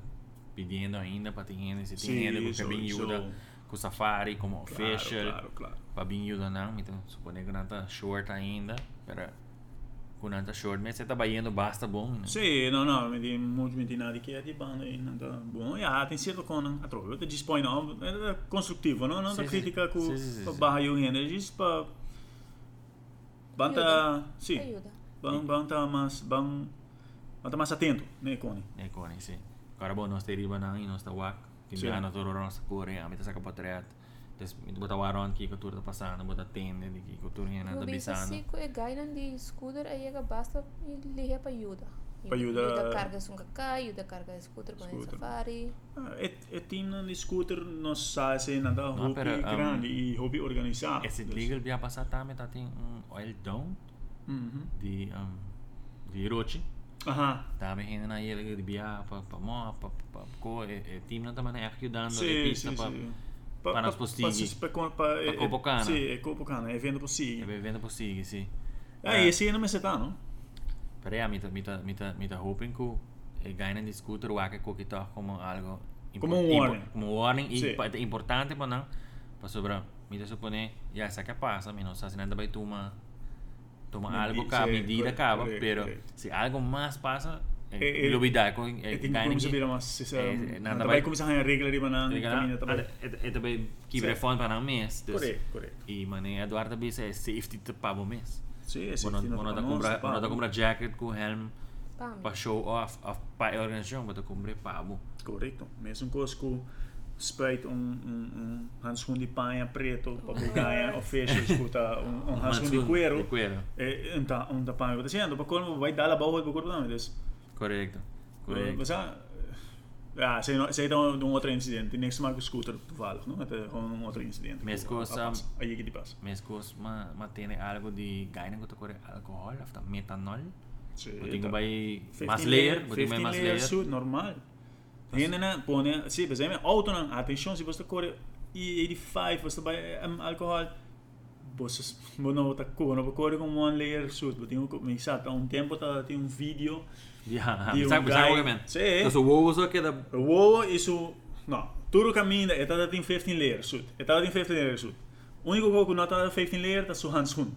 Speaker 2: pedindo ainda para ter se
Speaker 1: Sì,
Speaker 2: tem ainda com
Speaker 1: so-
Speaker 2: cabinho
Speaker 1: so-
Speaker 2: ajuda, com safari, como
Speaker 1: Claro,
Speaker 2: official,
Speaker 1: claro, claro.
Speaker 2: cabinho ajuda não, então suponho que nanta short ainda, pero com nanta short, mas você tá trabalhando basta bom, né?
Speaker 1: Sì, no, no, mi di, molti mi di nati che di bando e ah, non da buono. Ja, ti insiedo con né, a trovo, ti disponi no, è costruttivo, no? Non da
Speaker 2: Sì, sì,
Speaker 1: critica
Speaker 2: sì.
Speaker 1: cu
Speaker 2: Sì, sì, sì,
Speaker 1: pa
Speaker 2: sì.
Speaker 1: baha io hene, gis pa banta, sì,
Speaker 3: Ajuda.
Speaker 1: ban banta mas ban banta mas atento, né, Cone?
Speaker 2: É, Cone, sim. Agora, bom, nós temos Ribanan e nós temos Wak. Tem
Speaker 1: Sì.
Speaker 2: que nós temos nossa cor, a gente saca para trás. Tem que botar o Aron aqui, que a turma está passando, botar tenda, que a turma ainda
Speaker 3: Eu
Speaker 2: está
Speaker 3: vi
Speaker 2: pisando.
Speaker 3: assim que é gainan de scooter, aí é basta e liga pra ajuda.
Speaker 1: Pa ajuda-
Speaker 3: Ajuda carga um cacá, ajuda carga scooter para
Speaker 1: Scooter.
Speaker 3: safari.
Speaker 1: Ah, E, e um team non discuter non sa se é nada hobby
Speaker 2: però, um,
Speaker 1: grandi e hobby organizzato.
Speaker 2: Esse legal via passar também, tá tem um oil down
Speaker 1: Mhm.
Speaker 2: de, um, de Roche.
Speaker 1: Aha.
Speaker 2: Também ainda na ilha de Bia, para mó, para co, e time não também é ajudando,
Speaker 1: Sì,
Speaker 2: repita,
Speaker 1: sì, sì.
Speaker 2: para pa nos postighi.
Speaker 1: Pa, pa, pa, pa,
Speaker 2: Pa Copacabana.
Speaker 1: Sì, è Copacabana, è é vendo postighi.
Speaker 2: bebendo por si, sim.
Speaker 1: Ah,
Speaker 2: Eh.
Speaker 1: esse aí não me acertar, não?
Speaker 2: Pero ya, mita, mita, mita, mita hoping ko, eh, gaya ng scooter, wake ko kita como algo
Speaker 1: Como un
Speaker 2: impor-
Speaker 1: warning.
Speaker 2: impo- Como un warning, y
Speaker 1: Sí.
Speaker 2: pa- importante pa na, pa sobra, mita supone, ya, sa que pasa, mi no sa sinanda ba tuma, toma
Speaker 1: Medi-
Speaker 2: algo ka,
Speaker 1: sí,
Speaker 2: medida
Speaker 1: correcto,
Speaker 2: ka, ba,
Speaker 1: correcto,
Speaker 2: pero
Speaker 1: correcto.
Speaker 2: si algo más pasa, eh,
Speaker 1: Eh, eh,
Speaker 2: ilubidar ko, eh,
Speaker 1: Eu tenho que
Speaker 2: gaya ng-
Speaker 1: começar a virar uma sessão.
Speaker 2: eh, nanda
Speaker 1: Também
Speaker 2: bay-
Speaker 1: começar a ganhar regra ali, mas não
Speaker 2: Diga na,
Speaker 1: caminha também.
Speaker 2: ada- et- et- bay kibre
Speaker 1: Sí.
Speaker 2: fon pa na mes, dus-
Speaker 1: Correto, correto.
Speaker 2: y mane Eduardo bisa safety te pa bo mes.
Speaker 1: Sim, sim.
Speaker 2: Bueno, bueno, ta compra, bueno,
Speaker 1: um.
Speaker 2: ta compra jacket com helm,
Speaker 3: Pam.
Speaker 2: para show off é a pai organização, mas eu comprei pavo.
Speaker 1: Correto. Mesmo coisa com respeito um, um, um handschoen de panha preto para Bulgária, ou fecha, escuta, um, um handschoen de cuero.
Speaker 2: cuero.
Speaker 1: Eh, Então, um da panha que está sendo, para quando vai dar a bola para o corpo também.
Speaker 2: Correcto. Correcto.
Speaker 1: Mas, ah, ah, sei, não- sei de um de um outro incidente. Next marco scooter, tu fala, não? Até com um outro incidente.
Speaker 2: Mas
Speaker 1: Ah,
Speaker 2: coisa-
Speaker 1: passa. Aí é que te passa.
Speaker 2: Mas cos ma ma tiene algo de gaina que tocore alcohol, hasta metanol.
Speaker 1: Sim,
Speaker 2: Eu tenho
Speaker 1: tá.
Speaker 2: vai
Speaker 1: 15
Speaker 2: mais ler, eu tenho
Speaker 1: 15
Speaker 2: mais
Speaker 1: layer
Speaker 2: ler.
Speaker 1: suit, normal. Hene na pone, si per esempio, auto na attention si posto core i 85 posto by um, alcohol. Bosso bono ta cono pa core con one layer suit, but tinha mi sa ta un tempo ta ti un video.
Speaker 2: Ya,
Speaker 1: Di un
Speaker 2: sabe
Speaker 1: um
Speaker 2: sabe
Speaker 1: guy-
Speaker 2: que é men.
Speaker 1: Sì.
Speaker 2: Los huevos que da
Speaker 1: Wow, isso no, tudo caminho é ta ta 15 layer suit. É ta ta 15 layer suit. Único que não ta 15 layer ta su Hansun.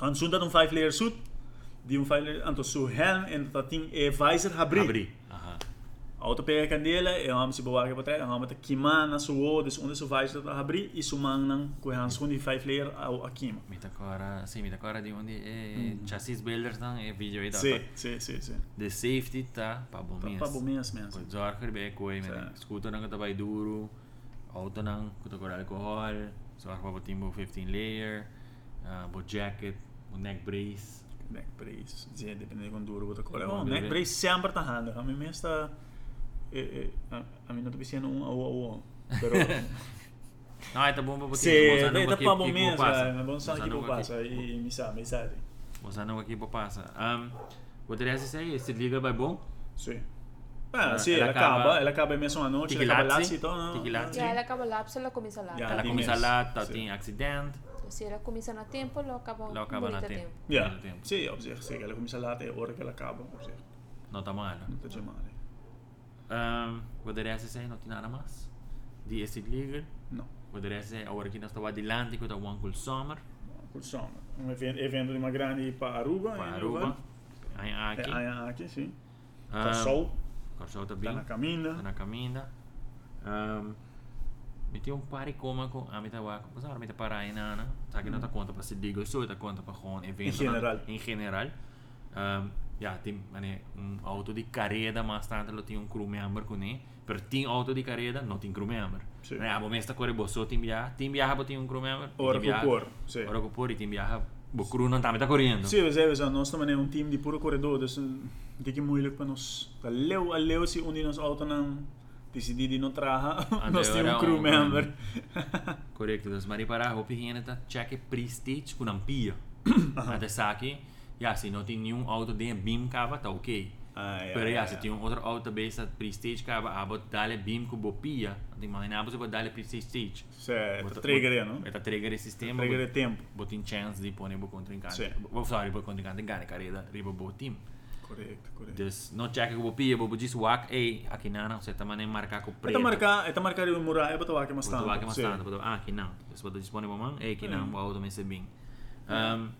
Speaker 1: Hansun ta un 5 layer suit. Di un 5 layer, anto su helm and ta tin e visor habri.
Speaker 2: abri. Aha.
Speaker 1: Auto pega a é candela, eu amo se boar aqui pra trás, eu amo queimar na sua, des onde isso vai, você abrir, isso manam com a handscone de five layer ao a queima.
Speaker 2: Mi ta cora, sì, mi ta cora di onde eh chassis builders É dan e video e da.
Speaker 1: Hum. Sim, sim, sim, sim.
Speaker 2: The safety tá pa bom
Speaker 1: Pra bominhas mesmo.
Speaker 2: Kot zorger bij koe
Speaker 1: Sa-
Speaker 2: met scooter nang katabay duro, auto nang kutakor alcohol, zorg pa butin mo 15 layer, uh, bo jacket, bo neck brace.
Speaker 1: Neck brace, sim, dependendo de quão duro você coloca.
Speaker 2: Bom,
Speaker 1: Oh, neck
Speaker 2: beleza.
Speaker 1: brace sempre tá rando, a mim mesmo é, está... eh, eh, A a mim não tô pensando um ao ao ao. Pero...
Speaker 2: No, ito buong
Speaker 1: Se,
Speaker 2: pabuti.
Speaker 1: daí
Speaker 2: Kung saan
Speaker 1: tá
Speaker 2: ang
Speaker 1: pra bom
Speaker 2: kick
Speaker 1: mesmo,
Speaker 2: pasa.
Speaker 1: é, vamos
Speaker 2: Kung
Speaker 1: só
Speaker 2: saan
Speaker 1: que
Speaker 2: ang
Speaker 1: por passa e me sabe, me sabe.
Speaker 2: Kung saan ang equipo pasa. Um, poderia ser esse liga vai bom.
Speaker 1: Sim. Ah,
Speaker 2: Ah,
Speaker 1: sim,
Speaker 2: ela
Speaker 1: ela acaba,
Speaker 2: acaba-
Speaker 1: ela acaba mesmo à noite, ela acaba lá,
Speaker 2: Tiquilatsi.
Speaker 1: então não.
Speaker 2: Tiquilatsi.
Speaker 3: Ya, ela acaba lapso, ela começa lá. Então,
Speaker 1: Yeah.
Speaker 2: Ela
Speaker 1: tem
Speaker 2: começa
Speaker 1: isso.
Speaker 2: lá, tá,
Speaker 1: Sim.
Speaker 2: tem acidente,
Speaker 3: Se ela começa na tempo, ela acaba
Speaker 2: lá acaba na
Speaker 3: bonita
Speaker 2: tempo.
Speaker 1: Yeah.
Speaker 2: Primeiro tempo.
Speaker 1: Sim, ou seja, sim, ela começa lá até a hora que ela acaba, ou seja,
Speaker 2: Não tá mal.
Speaker 1: não está de mal. né?
Speaker 2: Um, poderia ser não tem nada mais. De esse liga.
Speaker 1: Não.
Speaker 2: Poderia ser agora que nós estamos adiante com o Uncle Summer.
Speaker 1: Curso, um evento, evento de uma grande para Aruba,
Speaker 2: Com
Speaker 1: em
Speaker 2: a
Speaker 1: Aruba.
Speaker 2: Aruba. Aí
Speaker 1: É,
Speaker 2: aqui.
Speaker 1: aí aqui, sim.
Speaker 2: Um,
Speaker 1: Com sol,
Speaker 2: Corsol tá
Speaker 1: tá
Speaker 2: bem.
Speaker 1: na
Speaker 2: Tá
Speaker 1: caminha.
Speaker 2: na caminha. Um, meti um par cômico, a mitad guaco, pues ahora mete para aí nada. Tá que não tá conta para se digo isso, tá conta para com evento.
Speaker 1: Em general.
Speaker 2: Em general. Um, ja, tem, mané, um auto de carrera mais tanto, lo tem um crew member com né, per tem auto de carrera, não tem crew member.
Speaker 1: Sim.
Speaker 2: Né, a bomesta corre bosso tem viaja, tem viaja, bo tem um crew member.
Speaker 1: Ora cor, sim.
Speaker 2: Ora cupor, tem viaja, bo crew não tá meta correndo.
Speaker 1: Sim, mas é, mas nós também é um time de puro corredor, então é que moeilijk para nós. Tá leu a leu se um de nós auto não decidir de não traga,
Speaker 2: Ah,
Speaker 1: nós
Speaker 2: daí
Speaker 1: temos
Speaker 2: era
Speaker 1: um crew
Speaker 2: um-
Speaker 1: member.
Speaker 2: Correcto, das mari para hopi hiene ta check prestige kun ampia. Até saki, ja, se não tem nenhum auto de beam cava tá ok.
Speaker 1: Ah, ja,
Speaker 2: Pero
Speaker 1: ja,
Speaker 2: ja,
Speaker 1: ja.
Speaker 2: se tem um outro auto base at prestige cava, abo dale beam ku bopia. Tem mais nada, você pode dale prestige.
Speaker 1: Certo, Eh, trigger, não?
Speaker 2: Eta trigger esse sistema.
Speaker 1: Trigger é tempo.
Speaker 2: Botin chance de pôr bo contrincante.
Speaker 1: Sì.
Speaker 2: Bo sorry, bo contrincante ganha carreira, ribo bo team.
Speaker 1: Correto, correto.
Speaker 2: Dus no check ku bopia, bo just whack ei, aqui nana, você tá mané marcar com
Speaker 1: Eta
Speaker 2: preto.
Speaker 1: marcar, eta marcar o murar, é para tocar mais
Speaker 2: Botou lá
Speaker 1: tanto.
Speaker 2: que é mais
Speaker 1: sim.
Speaker 2: tarde, botou- ah, aqui não. Você botou disponível man, é aqui não, o auto me sebin. Um,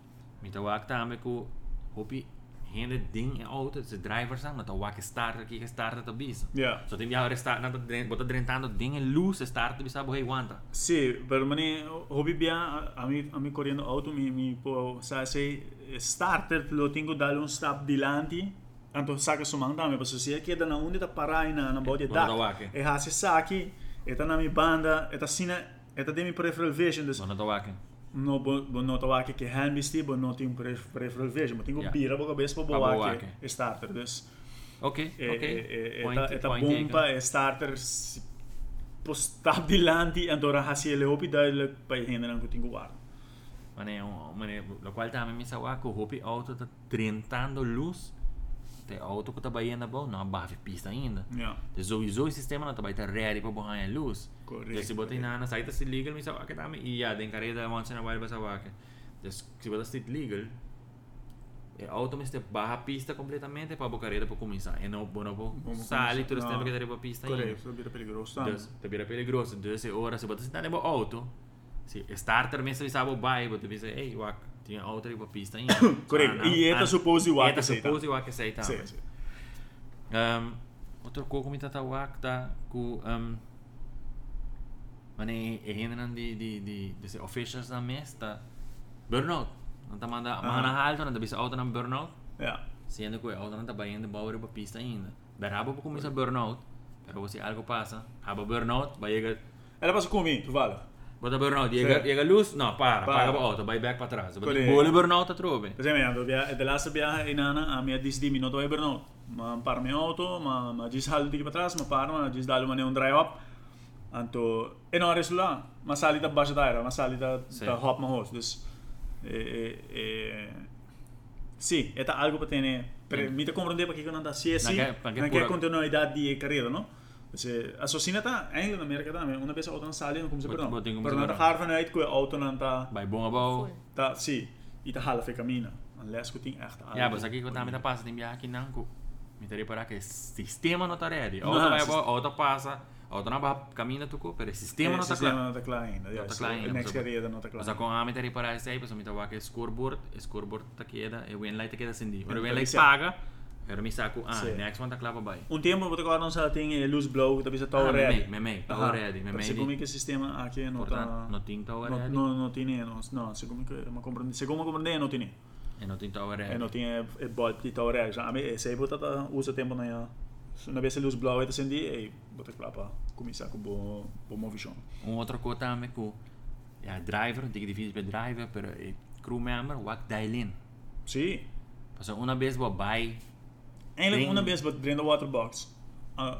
Speaker 2: então o acta ame com hopi hende ding e auto, se driver sang, então o acta starter aqui que starter tá bisa.
Speaker 1: Yeah.
Speaker 2: Só tem já resta, nada botou drentando ding e luz starter bisa bohei guanta.
Speaker 1: Sì, per me hobby bia a mi a mi correndo auto mi mi può sa se starter lo tengo dare un stop di lanti tanto sa che so mandame posso sia che da una unità parai na na body
Speaker 2: Guarda
Speaker 1: da
Speaker 2: qua che.
Speaker 1: e ha se saki e ta na mi banda e ta sina e ta demi peripheral vision des
Speaker 2: Só não tô aqui.
Speaker 1: no bo bo no to wake che hand mi sti bo no tim perif- peripheral vision ma tengo
Speaker 2: Yeah.
Speaker 1: pira bo cabes po bo
Speaker 2: Bo
Speaker 1: wake
Speaker 2: wake.
Speaker 1: e starter des
Speaker 2: Ok,
Speaker 1: e
Speaker 2: ok.
Speaker 1: e e
Speaker 2: Point-
Speaker 1: ta e ta
Speaker 2: point
Speaker 1: bomba
Speaker 2: taken.
Speaker 1: e starter si- postabilanti e allora ha si le hobby dal poi hende non tingo guardo
Speaker 2: Mano, é um, mano, é- lo qual tá a mim sawa que o hopi auto tá drentando luz. Tem auto que tá baiana bom, não abave pista ainda.
Speaker 1: Ja,
Speaker 2: Sowieso ist das Thema, da weiter tá ready para borrar a luz.
Speaker 1: Correct,
Speaker 2: Então, se botar
Speaker 1: correct.
Speaker 2: na saída se legal, me sabe que tá e a den careta once in a while passa vaca. Então, se botar se legal, é automaticamente barra a pista completamente para a careta para começar. E não bom
Speaker 1: Vamos
Speaker 2: sale
Speaker 1: começar.
Speaker 2: todo esse tempo
Speaker 1: Ah,
Speaker 2: que daria para a pista ainda.
Speaker 1: correct. Dat blir peligroso
Speaker 2: Então,
Speaker 1: também.
Speaker 2: vira perigoso. Então, se hora se botar se tá nebo auto, se starter mesmo se sabe o bairro, botar se ei, vaca, tinha auto para a pista ainda. Ah,
Speaker 1: Correct. E eta supposi vaca
Speaker 2: Eta
Speaker 1: sei, tá?
Speaker 2: supposi vaca sei tá.
Speaker 1: Sim, sim.
Speaker 2: Um, outro coco me tatawak tá com um, mane errando de de de de officials na mesta burnout não tá manda mana alto não tá bisa auto na burnout
Speaker 1: Ja.
Speaker 2: sendo que o auto não tá baiando baure pra pista ainda beraba pra começar burnout pero você algo passa haba burnout vai chegar
Speaker 1: Ela passa comigo, tu vale.
Speaker 2: bota burnout chega chega luz não para
Speaker 1: Para.
Speaker 2: paga o auto vai back para trás bota
Speaker 1: Correto.
Speaker 2: bole burnout tá trove
Speaker 1: Per esempio, de last viaje in Ana, a minha diz di minuto é Bernou. Ma par me auto, ma ma diz hal di patras, ma par ma diz dalo mane un drive up. Anto e non resto là, ma sali da base d'aera, ma sali da
Speaker 2: Sì.
Speaker 1: da hop ma host. Dus e e e Sì, è ta algo per tene per mi te comprende perché non da sì sì,
Speaker 2: Perché- perché
Speaker 1: anche
Speaker 2: pure-
Speaker 1: continuità di carriera, no? Se assassinata è in America da me, una pesa auto non sale, non come se
Speaker 2: Bo-
Speaker 1: per no.
Speaker 2: bo tengo come
Speaker 1: Per
Speaker 2: se
Speaker 1: non
Speaker 2: per no.
Speaker 1: far vanuit que auto non ta
Speaker 2: vai bom abau
Speaker 3: Full.
Speaker 1: Tá, sim. E tá halve caminho. Unless que tem echt
Speaker 2: Ja, mas aqui quando a meta passa, tem viagem aqui não. cu- Me teria para que sistema não está ready. Outra
Speaker 1: Não,
Speaker 2: vai
Speaker 1: sis-
Speaker 2: para outra passa, outra não vai caminha tu cooper. Sistema não está
Speaker 1: Sistema
Speaker 2: claro.
Speaker 1: não tá claro ainda.
Speaker 2: Não
Speaker 1: ja,
Speaker 2: está
Speaker 1: sim.
Speaker 2: claro ainda.
Speaker 1: Next
Speaker 2: mas-
Speaker 1: carreira não tá
Speaker 2: Mas a
Speaker 1: claro.
Speaker 2: com a meta para essa aí, pois me tava que scoreboard, scoreboard tá queda, e o light queda acende. Ora o
Speaker 1: Então,
Speaker 2: light
Speaker 1: isso é-
Speaker 2: paga, era me saco, ah,
Speaker 1: Sim.
Speaker 2: next one tá claro vai.
Speaker 1: Um tempo vou te não sabe tem eh, luz blow, talvez tá
Speaker 2: Ah,
Speaker 1: already.
Speaker 2: me mei, me mei, tá
Speaker 1: Aham.
Speaker 2: already, me
Speaker 1: Então,
Speaker 2: mei
Speaker 1: Segundo
Speaker 2: di-
Speaker 1: que o sistema aqui não tá
Speaker 2: Portanto, não tem tá
Speaker 1: Não,
Speaker 2: already.
Speaker 1: não, não tem, não, não, segundo que eu compreendo, segundo eu compreendo, não tem.
Speaker 2: E não tem tá
Speaker 1: É,
Speaker 2: already.
Speaker 1: não tem é bot de tá already. Já, a mim, esse aí bota tá usa tempo na na vez a luz blow é acendi e bota claro para começar com bom bom movição.
Speaker 2: Um outro coisa também com ja, driver, tem que dividir para driver, para crew member, o que dá ele in.
Speaker 1: Sim.
Speaker 2: Pois uma vez vou buy
Speaker 1: Eindelijk
Speaker 2: Ding.
Speaker 1: onderbeest wat Brenda Waterbox. Uh,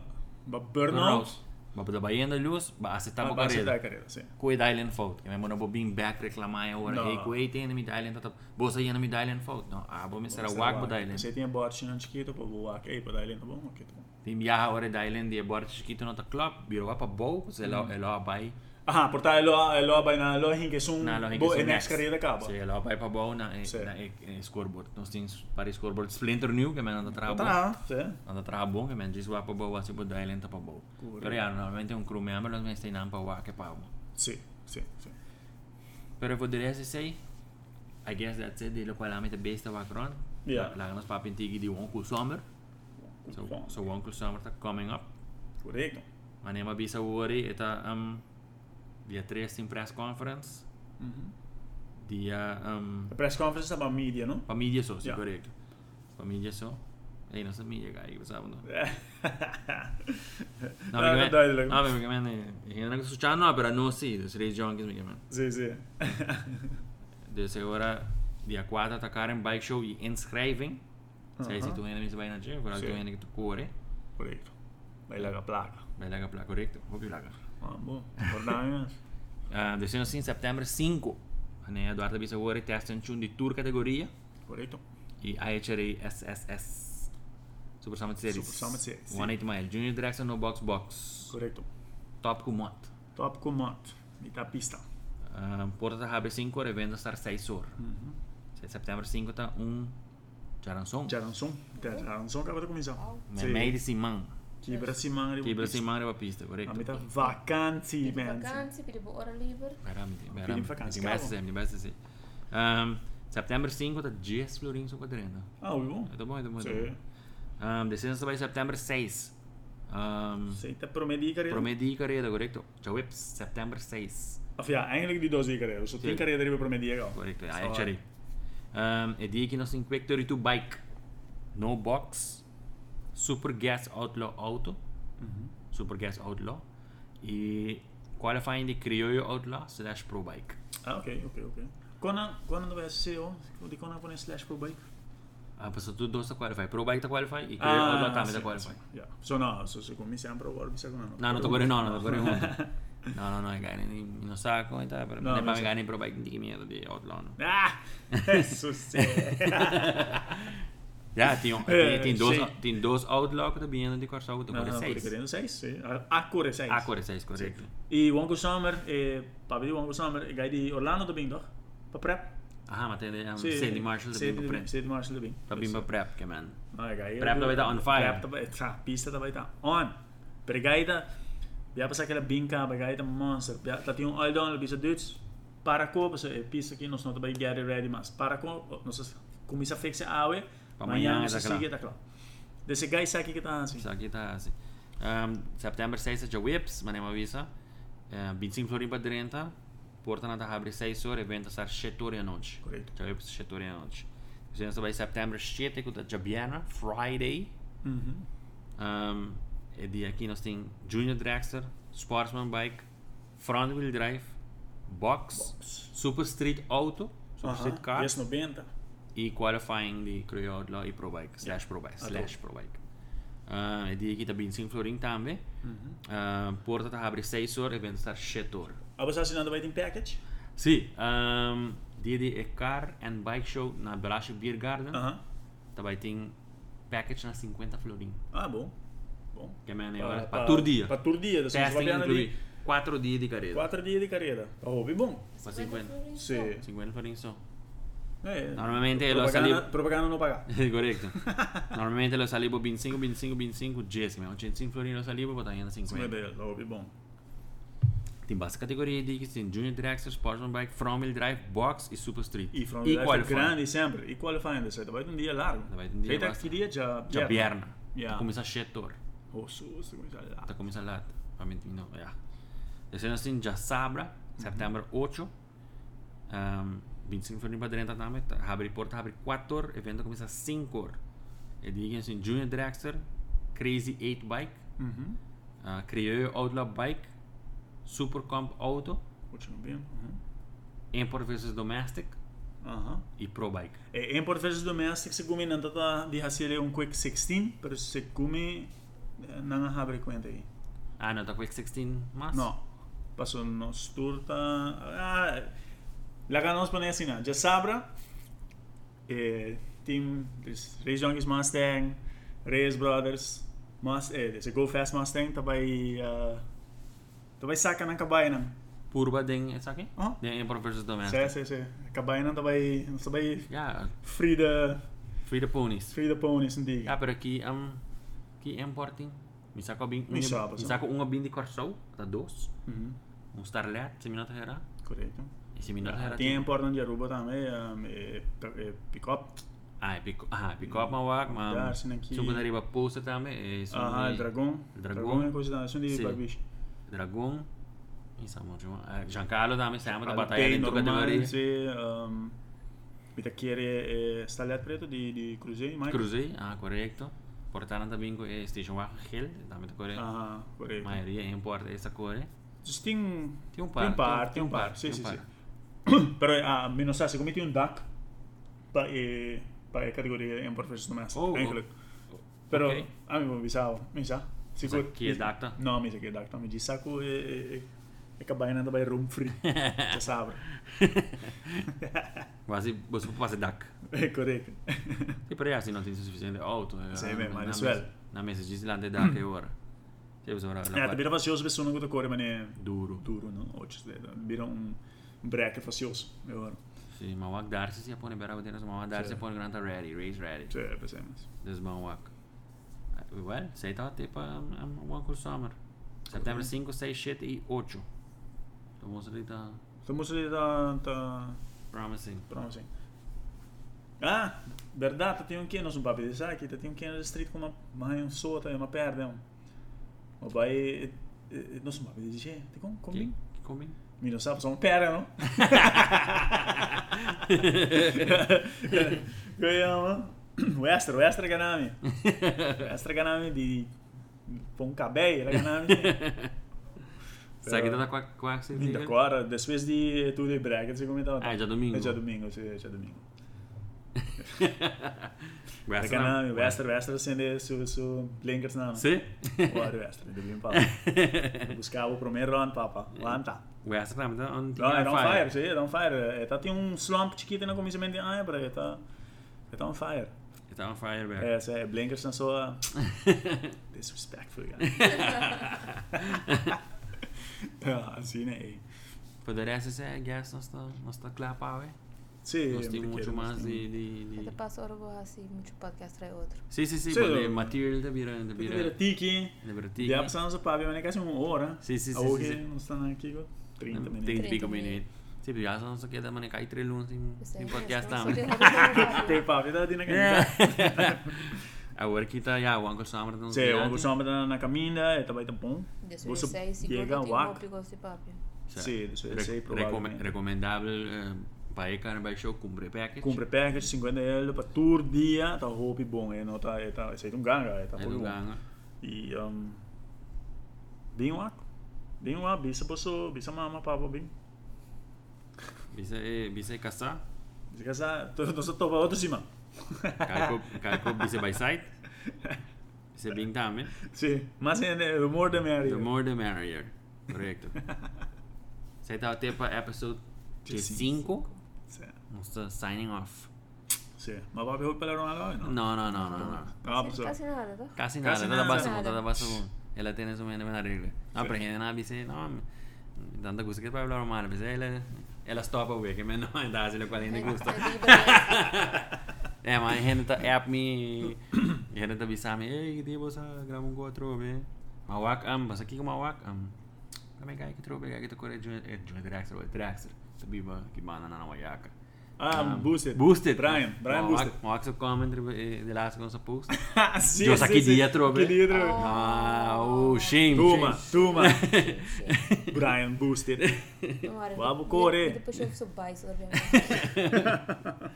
Speaker 1: wat burn-out.
Speaker 2: Burnout. ba da bayendo luz, ba acetar
Speaker 1: Mas
Speaker 2: ba
Speaker 1: vai aceitar a
Speaker 2: carreira.
Speaker 1: carreira, é sim.
Speaker 2: Cu e Dylan Fout, que mesmo não vou bem back reclamar agora,
Speaker 1: Não.
Speaker 2: ei, cu e tem me Dylan, tá, tá, bolsa ainda me Dylan Fout, não, ah, vou me será o Agbo Dylan.
Speaker 1: é Você tem bot na chiquita, pô, vou aqui, aí, pô, Dylan, tá bom? Ok, tá bom.
Speaker 2: Vim já agora Dylan de bora chiquito no ta club, biro pa bow, se lo elo abai.
Speaker 1: Aha, portar Ah, tá, ele lá, ele lá, vai na loja que são,
Speaker 2: Na lo
Speaker 1: bo- é next carreira acaba.
Speaker 2: Se elo abai pa bow na eh,
Speaker 1: Sí.
Speaker 2: na eh, eh, scoreboard. Nós temos para scoreboard splinter new que men anda trabalho.
Speaker 1: Tá, sim.
Speaker 2: Anda trabalho bom que men diz wa pa bow, se bo Dylan ta pa bow.
Speaker 1: Correcto.
Speaker 2: Pero ya normalmente un crew member los men está nan pa wa que pa. bow.
Speaker 1: Sim, sim, sim.
Speaker 2: Pero eu poderia dizer, I guess that's it, de lo cual amit besta wa kron.
Speaker 1: Yeah.
Speaker 2: La ganas pa pintigi di onkel summer. So
Speaker 1: Summer.
Speaker 2: so onkel summer ta coming up.
Speaker 1: Correto.
Speaker 2: Maar neem maar bisa worry, ita um, dia 13 press conference,
Speaker 1: Uhum.
Speaker 2: dia um,
Speaker 1: A press conference estava mídia, não?
Speaker 2: família só, se
Speaker 1: Ja.
Speaker 2: correto. Família só. Ei, não sabia, cara, eu pensava não. Não,
Speaker 1: Ah, duidelijk.
Speaker 2: Não, porque men, eu não estou chano, mas não sei, dos três junkies, porque men.
Speaker 1: Sim, sim.
Speaker 2: Desde agora, dia 4 atacar em bike show e inscribing. Sei se
Speaker 1: Aha.
Speaker 2: tu ainda me vai na gym, para tu
Speaker 1: Sì.
Speaker 2: ainda que tu corre.
Speaker 1: Correto. então. Vai lá com a placa.
Speaker 2: Vai lá para correto, vou que lá.
Speaker 1: Ah, bom. Acordamos.
Speaker 2: Ah, desde assim, setembro 5. Né, Eduardo bisa worry testa em chun de tour categoria.
Speaker 1: Correto.
Speaker 2: e IHRA SSS Super Summit Series.
Speaker 1: Super Summit Series, sim.
Speaker 2: 180 Mile. Junior Direction No Box Box.
Speaker 1: Correto.
Speaker 2: Top Kumot.
Speaker 1: Top comando. E tá pista.
Speaker 2: Um, Porta da HB5, evento estar 6 horas. Se Setembro 5 tá um Jaranson.
Speaker 1: Já lançou? Já lançou, acabou de começar.
Speaker 3: Au.
Speaker 2: Me meio de Simão.
Speaker 1: Quebra Simão.
Speaker 2: Quebra Simão é a pista, correto?
Speaker 1: A mim tá vacante,
Speaker 3: Pedi
Speaker 1: man.
Speaker 3: vakantie, pedi tipo, hora livre.
Speaker 2: Parâmetro.
Speaker 1: Pedi
Speaker 2: Parâmetro.
Speaker 1: vakantie.
Speaker 2: Tem mais de sempre, mais de sempre. Um, Setembro 5 tá 10 Florinhos no quadrino.
Speaker 1: Ah, bom.
Speaker 2: Tá bom, tá bom. tá
Speaker 1: Sim.
Speaker 2: bom. Um, Descendo também setembro 6. Um,
Speaker 1: Você tá promedi carreira.
Speaker 2: Promedi carreira, correcto. Chawips, september 6.
Speaker 1: Of ja, eigenlijk die dosis carreira. Eu só tenho carreira de promedi eh, oh. agora.
Speaker 2: Correcto,
Speaker 1: Zo.
Speaker 2: ja, ik sorry. Ehm, Het die ik nog in Quick 32 e bike. No box. Super gas outlaw auto. Super gas outlaw. E qualifying de Criollo outlaw slash pro bike.
Speaker 1: Ah, ok, ok, ok. Conan, Conan vai ser o de Conan põe slash pro bike.
Speaker 2: Ah, passou tudo dois a qualify. Pro bike tá qualify e Criollo
Speaker 1: Ah,
Speaker 2: outlaw também tá qualify.
Speaker 1: Yeah. So no, so se come sempre agora, bisa Conan.
Speaker 2: Não, não tô correndo, não, não tô correndo. Não, não, não, é cara, nem não saco, então, para
Speaker 1: No,
Speaker 2: não é
Speaker 1: no
Speaker 2: para
Speaker 1: sé.
Speaker 2: ganhar nem pro bike, não tem medo de outlaw. não.
Speaker 1: Ah! Susse.
Speaker 2: Ja, tem, tem,
Speaker 1: Eh,
Speaker 2: tem, dois,
Speaker 1: sim.
Speaker 2: tem dois outlaw que tá vindo de Corsa Auto,
Speaker 1: Não,
Speaker 2: agora
Speaker 1: não,
Speaker 2: seis.
Speaker 1: querendo 6, sim. Acore 6.
Speaker 2: Ah, agora seis, correto.
Speaker 1: E o Onkel Summer, eh, para ver o Onkel Summer, gai de Orlando também, doch? Para prep?
Speaker 2: Ah, mas tem um, Sandy Marshall da Bimba Prep.
Speaker 1: Sandy Marshall também.
Speaker 2: Da Bimba Prep, que man.
Speaker 1: Ah, gai.
Speaker 2: Prep daarbij dan on fire.
Speaker 1: Prep daarbij, tá, pista daarbij tá. On. Per gai da, ja pas aquela binka, per gai da monster. Ja, dat die all down, bisa Duits. Para co, pues eh, pista aqui nós não também get it ready, mas para co, nós começa a fixe awe,
Speaker 2: Pa
Speaker 1: amanhã
Speaker 2: mañana
Speaker 1: nós
Speaker 2: tá klaar.
Speaker 1: sigue tá claro. Desse gai sabe que tá assim.
Speaker 2: Isso aqui tá assim. Um, September 6 é de Whips, mas nem uma visa. Uh, 25 florim para 30. Porta nada abre 6 horas, evento estar 7 horas à noite.
Speaker 1: Correto.
Speaker 2: Já Whips 7 horas à noite. Então, vai setembro 7, que é de Biana, Friday.
Speaker 1: Uhum.
Speaker 2: Um, e de aqui nós tem Junior Dragster, Sportsman Bike, Front Wheel Drive, Box, Super Street Auto, Super Street Car.
Speaker 1: Yes 90.
Speaker 2: e qualifying de Cruyodla e Pro Bike, slash Pro Bike,
Speaker 1: Ah,
Speaker 2: slash Pro Bike. Uh, e aqui também sim Florin também. Uh, porta tá abre 6 horas e vende estar 7 horas.
Speaker 1: Abas assinando vai ter package.
Speaker 2: Sim, um, dia de car and bike show na Belashe Beer Garden.
Speaker 1: Aham.
Speaker 2: Também tem package na 50 Florin.
Speaker 1: Ah, bom. Bom.
Speaker 2: Que é agora para todo dia.
Speaker 1: Para todo dia, assim,
Speaker 2: Testing
Speaker 1: Fabiana
Speaker 2: inclui
Speaker 1: de
Speaker 2: 4 dias de carreira.
Speaker 1: 4 dias de carreira. Para hobby bom.
Speaker 2: Para 50.
Speaker 1: Sim.
Speaker 2: 50 Florin só.
Speaker 1: É,
Speaker 2: Normalmente eu
Speaker 1: propaganda,
Speaker 2: sali-
Speaker 1: propaganda não paga.
Speaker 2: Correcto. Normalmente lo salivo 25, 25, 25, 10. Mi 85 florini lo salivo, poi tagliando
Speaker 1: Sim, é
Speaker 2: 50.
Speaker 1: belo, hobby bom.
Speaker 2: Ti basta categorie di chi sono Junior Dragster, Sportsman Bike, Front Wheel Drive, Box e Super Street.
Speaker 1: E from the left,
Speaker 2: qualifying.
Speaker 1: grande sempre. E qualifying, você vai ter um dia largo.
Speaker 2: Daar weet een dia
Speaker 1: Feita
Speaker 2: vast.
Speaker 1: que dia já...
Speaker 2: Già Bierna.
Speaker 1: Ja.
Speaker 2: Tu comincia a scettore.
Speaker 1: Oh, sus, começa lá.
Speaker 2: Tu comincia a Ovviamente no, yeah. Le sono in già Sabra, settembre 8. Um, 25 florini per 30 tame, apri porta, apri 4, evento comincia a 5 ore. E di chi sono Junior Dragster, Crazy 8 Bike,
Speaker 1: Uhum.
Speaker 2: Uh, Criollo Outlaw Bike, Supercomp Auto,
Speaker 1: Continua bem. Uhum.
Speaker 2: Import vs Domestic
Speaker 1: Aham.
Speaker 2: e Pro Bike.
Speaker 1: E, em Eh, por vezes domestic, se come não tá de fazer um quick 16, mas se come não eh, abre conta aí.
Speaker 2: Ah, no, tocó el 16 más?
Speaker 1: No. Passou nos turta. Ah, lá ganhamos para assim, já sabra. Eh, team, there's Race Junkies Mustang, Reyes Brothers, mas, eh, there's a Go Fast Mustang, também, uh, também saca na cabainan.
Speaker 2: Purba é den, ¿es aquí?
Speaker 1: Ah.
Speaker 2: Den en Professor
Speaker 1: Sim,
Speaker 2: Domestic.
Speaker 1: sim, sim. Cabainan também, também
Speaker 2: Ya,
Speaker 1: free the,
Speaker 2: Free the Ponies.
Speaker 1: free the ponies, não
Speaker 2: Ya, pero aquí, um, aquí en Porting, me saco bin,
Speaker 1: Mi sapo,
Speaker 2: me
Speaker 1: so.
Speaker 2: saco un bin de Corso, hasta dos.
Speaker 1: Uhum,
Speaker 2: Un um Starlet, si mi nota era.
Speaker 1: correto.
Speaker 2: Y si mi nota
Speaker 1: Ah,
Speaker 2: era.
Speaker 1: Tem importante de Aruba também, um, eh, eh, pick-up.
Speaker 2: Ah, pico, ajá, pico up mawak, ma.
Speaker 1: Daar zit een key.
Speaker 2: Subo de é arriba poster también, es un
Speaker 1: Ah, Dragão.
Speaker 2: Dragão.
Speaker 1: Dragão é coisa da... São de
Speaker 2: Sim.
Speaker 1: barbicho.
Speaker 2: dragón. Y samo, Eh, Giancarlo también se llama la batalla
Speaker 1: Alpei,
Speaker 2: en tu
Speaker 1: normal,
Speaker 2: categoría.
Speaker 1: se... Um, Uite, aqui é, é Stalhado Preto de, de Cruzeiro, Mike?
Speaker 2: Crucé, ah, correcto. Portana también eh, Station Wagon Hill, también te corre.
Speaker 1: Ah, correto.
Speaker 2: Mayoría en Puerto esa corre.
Speaker 1: Just tem...
Speaker 2: Tem um par.
Speaker 1: Tem um par, tem um par. Sim, sim, sim. Però, ah, mi non sa, siccome ti un DAC, pa, eh, e, pa è categoria è un professor domestico.
Speaker 2: Oh,
Speaker 1: Enkele. Però, ah, mi pensavo, mi sa. Sicuro.
Speaker 2: chi è DAC?
Speaker 1: No, mi sa che è DAC, mi sa che è... è- è cabana da room free. Ci sa.
Speaker 2: Quasi, vos pase DAC.
Speaker 1: È corretto.
Speaker 2: Sí, pero ya si no tienes suficiente auto. eh,
Speaker 1: Sì,
Speaker 2: ah,
Speaker 1: beh,
Speaker 2: na-
Speaker 1: ma
Speaker 2: na
Speaker 1: adesso
Speaker 2: mes-
Speaker 1: è- Eh,
Speaker 2: Na mesa dice la de DAC ora. Sì, vos ora
Speaker 1: É, também
Speaker 2: la
Speaker 1: era facioso ver se não gosta cor, mas é
Speaker 2: duro.
Speaker 1: duro, não? Hoje, vira um break facioso. Eu acho.
Speaker 2: Sì, ma wak darsi si pone bera vedere, ma wak darsi
Speaker 1: Sì.
Speaker 2: pone granta ready, race ready.
Speaker 1: Isso é, pensei, mas...
Speaker 2: Dus man wak. Uh, Well, sei ta tipo um, um, wak ul summer. Septembre 5, 6, 7 y 8. Estamos ahorita
Speaker 1: Então, você tá... tá...
Speaker 2: promising.
Speaker 1: Pronto, sim. Ah, verdade, tem um que nós não papo de saque, tem um que no street com uma mãe, um sota, uma perda, um. O pai, nós não papo de dizer, tem como, como,
Speaker 2: Que comi?
Speaker 1: me não sabe, só uma perda, não? Ganhamos, o extra, o extra ganame, o extra ganame de pão cabelo, era ganame.
Speaker 2: Sai que tá com com
Speaker 1: Ainda
Speaker 2: accent.
Speaker 1: agora, depois de tudo e brega, você comentou.
Speaker 2: Ah, já domingo.
Speaker 1: É já domingo, sim, já domingo.
Speaker 2: West
Speaker 1: Wester, naam, Wester, Wester zijn de zo, zo blinkers naam.
Speaker 2: Sim?
Speaker 1: Waar Wester, de bin papa. Buscava o primeiro round, papa. Lanta.
Speaker 2: West Ram tá on
Speaker 1: Não, era on fire, sim, era on fire. Ele tá tinha um slump chiquito no começo de ah, para ele tá ele tá on fire.
Speaker 2: Tá on fire, velho.
Speaker 1: É, se blinkers são só disrespectful, cara. Eh. Ja, assim, né?
Speaker 2: Por the rest is I guess nós tá nós tá clap away.
Speaker 1: Sim,
Speaker 2: Nós tem muito mais de de
Speaker 3: Até
Speaker 2: de
Speaker 3: passo agora vou assim, muito podcast trai outro.
Speaker 2: Sim, sim, sim,
Speaker 1: Sim.
Speaker 2: pode pues, material da vira da
Speaker 1: Vira
Speaker 2: vira.
Speaker 1: tiki.
Speaker 2: Da vira
Speaker 1: De
Speaker 2: tigre.
Speaker 1: a passar nossa pavia, mas é quase uma hora.
Speaker 2: Sim, sim, sim, sim,
Speaker 1: Hoje
Speaker 2: sim.
Speaker 1: nós estamos aqui com 30 minutos.
Speaker 2: 30 y pico
Speaker 3: 30
Speaker 2: minutos. Sí, pero ya son se queda mané cae tres lunes sin, sin
Speaker 3: é
Speaker 2: podcast también.
Speaker 1: Tem pavia, tá dando
Speaker 2: Agora que tá já o Uncle Summer não
Speaker 1: Se o Uncle Sombra tá na caminha, ele também tá bom.
Speaker 3: er
Speaker 1: Gusto
Speaker 3: Chega
Speaker 1: chega
Speaker 3: o
Speaker 1: o
Speaker 3: ar.
Speaker 1: ar. Sì,
Speaker 2: Sim,
Speaker 1: sì, sì, probabilmente.
Speaker 2: recomendável eh, para ir carnaval show cumpre package.
Speaker 1: Compre package 50 euro para tur dia, tá roupa bom, é não tá, é tá, é um ganga, é tá
Speaker 2: É
Speaker 1: por
Speaker 2: do
Speaker 1: bom.
Speaker 2: ganga.
Speaker 1: E um bem lá, bem lá, bisa posso, bisa mama papa bem.
Speaker 2: Bisa eh bisa casa.
Speaker 1: Se casar, tô tô só topa outro cima.
Speaker 2: Calco calco bisa by side. Bisa bing também.
Speaker 1: Sim, mas é o humor da minha
Speaker 2: The
Speaker 1: área.
Speaker 2: more the merrier. Correcto. Você tá até para episode 5.
Speaker 1: Sim,
Speaker 2: Nós tá signing off.
Speaker 1: sim. Mas papo roupa para não agora, não.
Speaker 2: No, no, no, no, no.
Speaker 1: Ah, pessoal.
Speaker 3: Quase nada, tá?
Speaker 2: Casi nada,
Speaker 1: Casi
Speaker 2: Casi nada.
Speaker 1: nada.
Speaker 2: Basa,
Speaker 3: Nada.
Speaker 2: nada. Basa, él tiene su mente en arreglo. No, pero gente nada dice, no, me- tanta cosa que para hablar mal, pues él él stop güey, que me no da así lo cual ni gusto. É, mas gente tá app me, gente tá avisando me, ei, que tipo sa grava um outro, ve. Mawak am, mas aqui com mawak am. Como é que é que trouxe, que tu corre de de Draxler, de Draxler. Sabiba que mana na wayaka.
Speaker 1: Ah, boosted.
Speaker 2: Boosted.
Speaker 1: Brian, Brian boosted.
Speaker 2: Mawak se commentary de last con sa post.
Speaker 1: Sim,
Speaker 2: Yo sa
Speaker 1: sim,
Speaker 2: que
Speaker 1: sim.
Speaker 2: dia
Speaker 1: Que
Speaker 2: trouxe.
Speaker 1: dia trouxe.
Speaker 2: né? Ah, oh, shame.
Speaker 1: Tuma,
Speaker 2: shame.
Speaker 1: tuma. Brian boosted. Vamos correr.
Speaker 3: Depois eu sou baixo, sabe?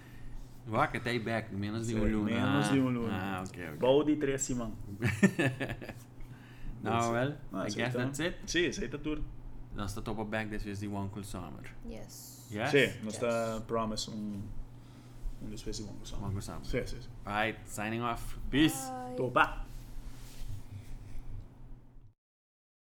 Speaker 2: Vaca até aí back, menos de um
Speaker 1: Sim,
Speaker 2: luna.
Speaker 1: menos de um luna.
Speaker 2: Ah, ok, ok.
Speaker 1: Bom de três cima.
Speaker 2: Now, well,
Speaker 1: Ah,
Speaker 2: I
Speaker 1: isso
Speaker 2: guess
Speaker 1: então.
Speaker 2: that's it.
Speaker 1: Sim, isso aí tá tudo.
Speaker 2: Nós tá topa back this is the one cool summer.
Speaker 3: Yes.
Speaker 2: Yes?
Speaker 1: Sim, nós
Speaker 3: Yes.
Speaker 1: tá promise um um desfecho bom, pessoal.
Speaker 2: One cool summer.
Speaker 1: Sim, sim, sim.
Speaker 2: Alright, signing off. Peace.
Speaker 3: Bye.
Speaker 1: Topa.